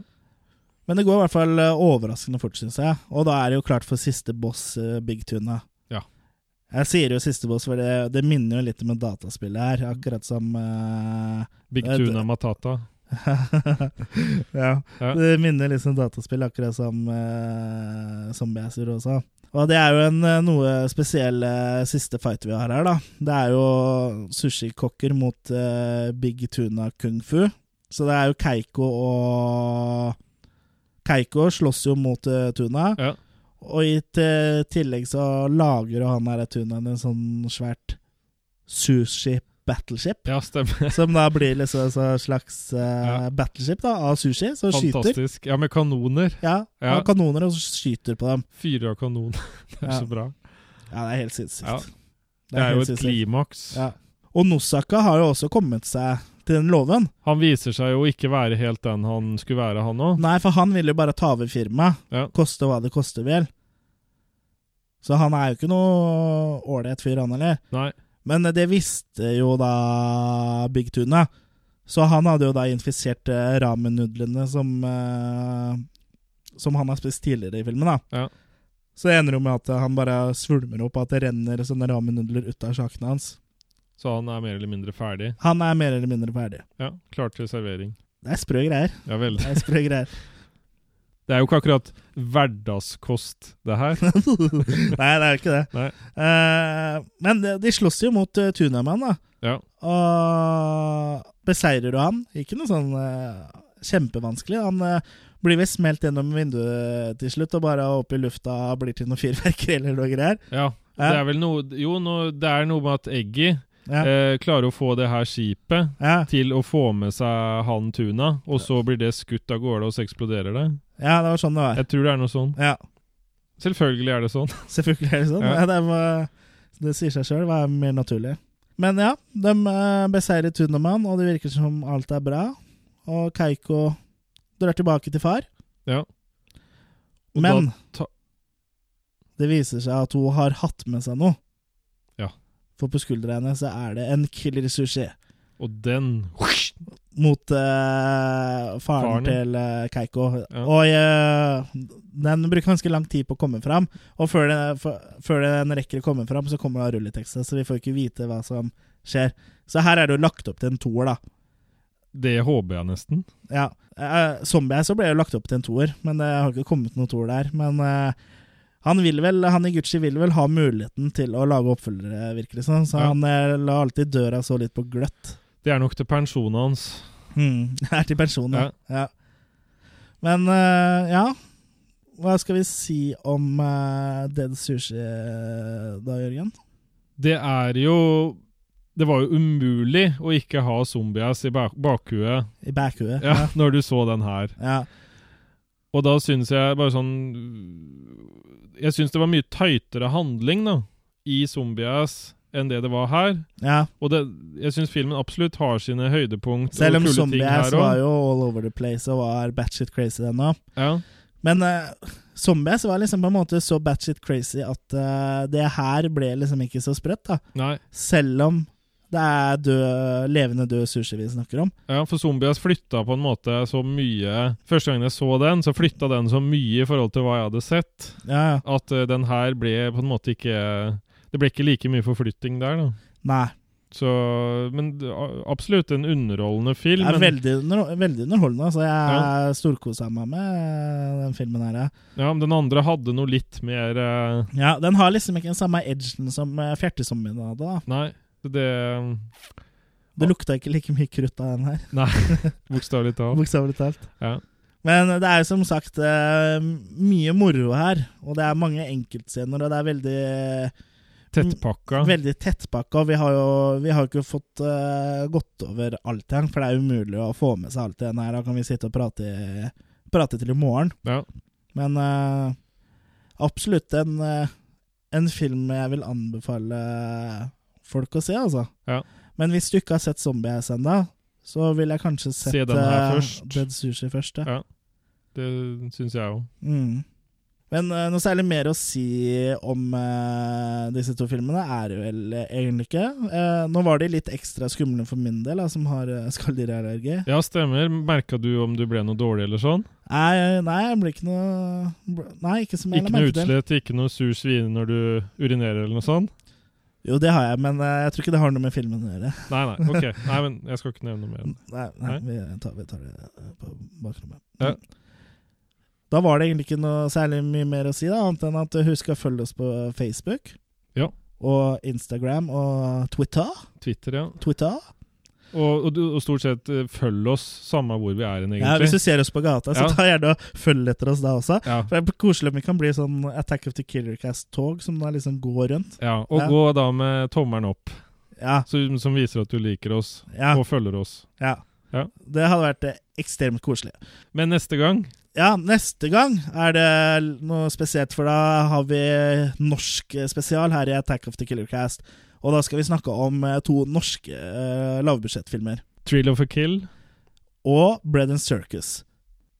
S2: Men det går i hvert fall eh, overraskende fort, syns jeg. Og da er det jo klart for siste boss, eh, Big Tuna.
S1: Ja.
S2: Jeg sier jo siste boss, for det, det minner jo litt om et dataspill her. Akkurat som eh,
S1: Big
S2: Ja, det-
S1: Tuna Matata.
S2: ja.
S1: Ja.
S2: Det minner liksom dataspill, akkurat som uh, Zombieaser også. Og det er jo en eh, noe spesiell eh, siste fight vi har her, da. Det er jo sushikokker mot eh, Big Tuna Kung Fu. Så det er jo Keiko og Keiko slåss jo mot eh, Tuna.
S1: Ja.
S2: Og i t tillegg så lager jo han her Tunaen en sånn svært sushi battleship.
S1: Ja, stemmer.
S2: Som da blir liksom en slags eh,
S1: Ja.
S2: battleship da, av sushi, som skyter.
S1: Fantastisk. Ja, med kanoner.
S2: Ja,
S1: Ja.
S2: Av kanoner og skyter på dem.
S1: Fyre av kanoner. Det er
S2: Ja.
S1: så bra.
S2: Ja, det er helt sinnssykt.
S1: Ja.
S2: Det
S1: Det er jo
S2: helt
S1: et
S2: sinnssykt.
S1: klimaks.
S2: Ja. Og Nosaka har jo også kommet seg til den låven.
S1: Han viser seg jo ikke være helt den han skulle være, han òg.
S2: Nei, for han vil jo bare ta over firmaet.
S1: Ja.
S2: Koste hva det koste vil. Så han er jo ikke noe ålreit fyr, han heller.
S1: Nei.
S2: Men eh, det visste jo da Big Tuna. Så han hadde jo da infisert eh, ramen-nudlene som eh, Som han har spist tidligere i filmen, da.
S1: Ja.
S2: Så det ender jo med at eh, han bare svulmer opp, og at det renner sånne ramen-nudler ut av sjakene hans.
S1: Så han er mer eller mindre ferdig.
S2: Han er mer eller mindre ferdig.
S1: Ja, Klar til servering.
S2: Det er sprø greier.
S1: Ja, veldig.
S2: Det er sprø greier.
S1: Det er jo ikke akkurat hverdagskost, det her.
S2: Nei, det er jo ikke det.
S1: Nei.
S2: Eh, men de, de slåss jo mot uh, Tunaman, da.
S1: Ja.
S2: Og beseirer du han? Ikke noe sånn eh, kjempevanskelig. Han eh, blir vel smelt gjennom vinduet til slutt, og bare opp i lufta blir til noe fyrverkeri eller noe greier.
S1: ja. Det er vel noe Jo, no, det er noe med at Eggy
S2: Ja.
S1: eh, klarer å få det her skipet
S2: Ja,
S1: til å få med seg han Tuna, og så blir det skutt av gårde, og så eksploderer det.
S2: ja, det var sånn det var.
S1: Jeg tror det er noe sånn.
S2: Ja,
S1: Selvfølgelig er det sånn.
S2: Selvfølgelig er det sånn.
S1: Ja.
S2: Ja. Det, var- det sier seg sjøl, hva er mer naturlig? Men ja, de eh, beseirer Tunemann, og det virker som alt er bra. Og Keiko drar tilbake til far.
S1: Ja. Og
S2: Men
S1: da ta-
S2: det viser seg at hun har hatt med seg noe.
S1: Ja.
S2: For på skuldra hennes så er det en killer sushi
S1: Og den
S2: mot eh, faren,
S1: Faren, ja.
S2: til eh, Keiko.
S1: Ja.
S2: Og eh, den bruker ganske lang tid på å komme fram. Og før den, f- før den rekker å komme fram, så kommer da rulleteksten, så vi får ikke vite hva som skjer. Så her er det jo lagt opp til en toer, da.
S1: Det håper jeg nesten.
S2: Ja. Eh, zombie så ble det jo lagt opp til en toer, men det har ikke kommet noen toer der. Men eh, han vil vel, han i Gucci vil vel ha muligheten til å lage oppfølgere, virker det som. Så
S1: Ja.
S2: han eh, la alltid døra så litt på gløtt.
S1: Det er nok til pensjonen hans.
S2: Mm. Er til pensjon, ja. ja. Men eh, ja Hva skal vi si om eh, Dead Sushi eh, da, Jørgen?
S1: Det er jo Det var jo umulig å ikke ha zombies i bak bakhuet
S2: I bakhuet.
S1: ja, når du så den her.
S2: Ja.
S1: Og da syns jeg bare sånn Jeg syns det var mye tightere handling da, i zombies enn det det var her.
S2: ja.
S1: Og det, jeg syns filmen absolutt har sine høydepunkt.
S2: Selv om
S1: og kule ting
S2: zombies
S1: her
S2: var
S1: også.
S2: jo all over the place og var batshit crazy ennå.
S1: ja.
S2: Men eh, zombies var liksom på en måte så batshit crazy at eh, det her ble liksom ikke så sprøtt, da.
S1: Nei.
S2: Selv om det er død, levende død sushi vi snakker om.
S1: Ja, for zombies flytta på en måte så mye Første gangen jeg så den, så flytta den så mye i forhold til hva jeg hadde sett,
S2: Ja, ja.
S1: at eh, den her ble på en måte ikke Det ble ikke like mye forflytting der, da.
S2: Nei.
S1: Så Men det- a- absolutt en underholdende
S2: Det
S1: film.
S2: er
S1: men,
S2: veldig, under, veldig underholdende. Altså, jeg storkosa meg med eh, den filmen her. ja.
S1: ja, men den andre hadde noe litt mer eh,
S2: Ja, Den har liksom ikke den samme edgen som eh, fjertezombien hadde. da.
S1: Nei, det um,
S2: Det lukta ikke like mye krutt av den her,
S1: Bokstavelig talt.
S2: bokstavelig talt.
S1: Ja.
S2: Men det er som sagt eh, mye moro her, og det er mange enkeltscener, og det er veldig,
S1: Tettpakka.
S2: veldig tettpakka. Og vi har jo vi har jo ikke fått eh, gått over alt igjen, for det er umulig å få med seg alt igjen her. Da kan vi sitte og prate, prate til i morgen.
S1: Ja.
S2: Men eh, absolutt en, eh, en film jeg vil anbefale folk å se, altså.
S1: Ja.
S2: Men hvis du ikke har sett Zombies ennå, så vil jeg kanskje
S1: Se
S2: sette
S1: den her
S2: eh,
S1: først.
S2: Dead Sushi først. Ja.
S1: Ja. Det syns jeg òg.
S2: Mm. Men eh, noe særlig mer å si om eh, disse to filmene er det vel eh, egentlig ikke. Eh, nå var de litt ekstra skumle for min del, da, som har uh, skalldyrallergi.
S1: Ja, stemmer. Merka du om du ble noe dårlig eller sånn?
S2: Nei, eh, nei, det blir ikke noe bl- Nei, ikke som jeg
S1: Ikke
S2: la
S1: noe
S2: merke til.
S1: utslett, ikke noe sur svine når du urinerer eller noe sånt?
S2: Jo, det har jeg, men eh, jeg tror ikke det har noe med filmen å gjøre.
S1: Nei, nei, ok. Nei, men jeg skal ikke nevne noe mer. om det.
S2: Nei, nei, Vi, tar, vi tar det eh, på bakrommet. Mm.
S1: Ja.
S2: Da var det egentlig ikke noe særlig mye mer å si, da, annet enn at eh, husk å følge oss på Facebook.
S1: Ja.
S2: Og Instagram og Twitter.
S1: Twitter, ja.
S2: Twitter.
S1: Og, og, du- og stort sett eh, følg oss samme hvor vi er hen,
S2: Ja, hvis
S1: egentlig.
S2: du ser oss på gata, så
S1: Ja.
S2: ta gjerne og følg etter oss da også.
S1: Ja,
S2: For Det er koselig om vi kan bli sånn Attack of the Killer Cast-tog som da liksom går rundt.
S1: ja. Og
S2: Ja.
S1: gå da med tommelen opp,
S2: Ja,
S1: så, som viser at du liker oss
S2: ja,
S1: og følger oss.
S2: ja.
S1: Ja.
S2: Det hadde vært eh, ekstremt koselig.
S1: Men neste gang
S2: Ja, neste gang er det noe spesielt, for da har vi norsk eh, spesial her i Attack of the Killer Cast. Og da skal vi snakke om eh, to norske eh, lavbudsjettfilmer.
S1: Trill of a kill.
S2: Og Bread and Circus.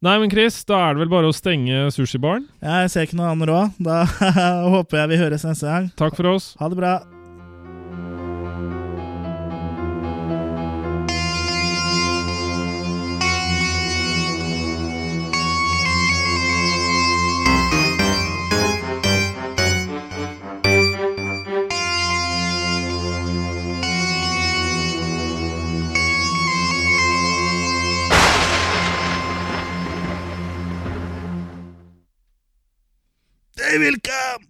S1: Nei, men Chris, da er det vel bare å stenge sushibaren.
S2: Jeg ser ikke noe annet råd. Da håper jeg vi høres neste gang.
S1: Takk for oss.
S2: Ha det bra. They will come!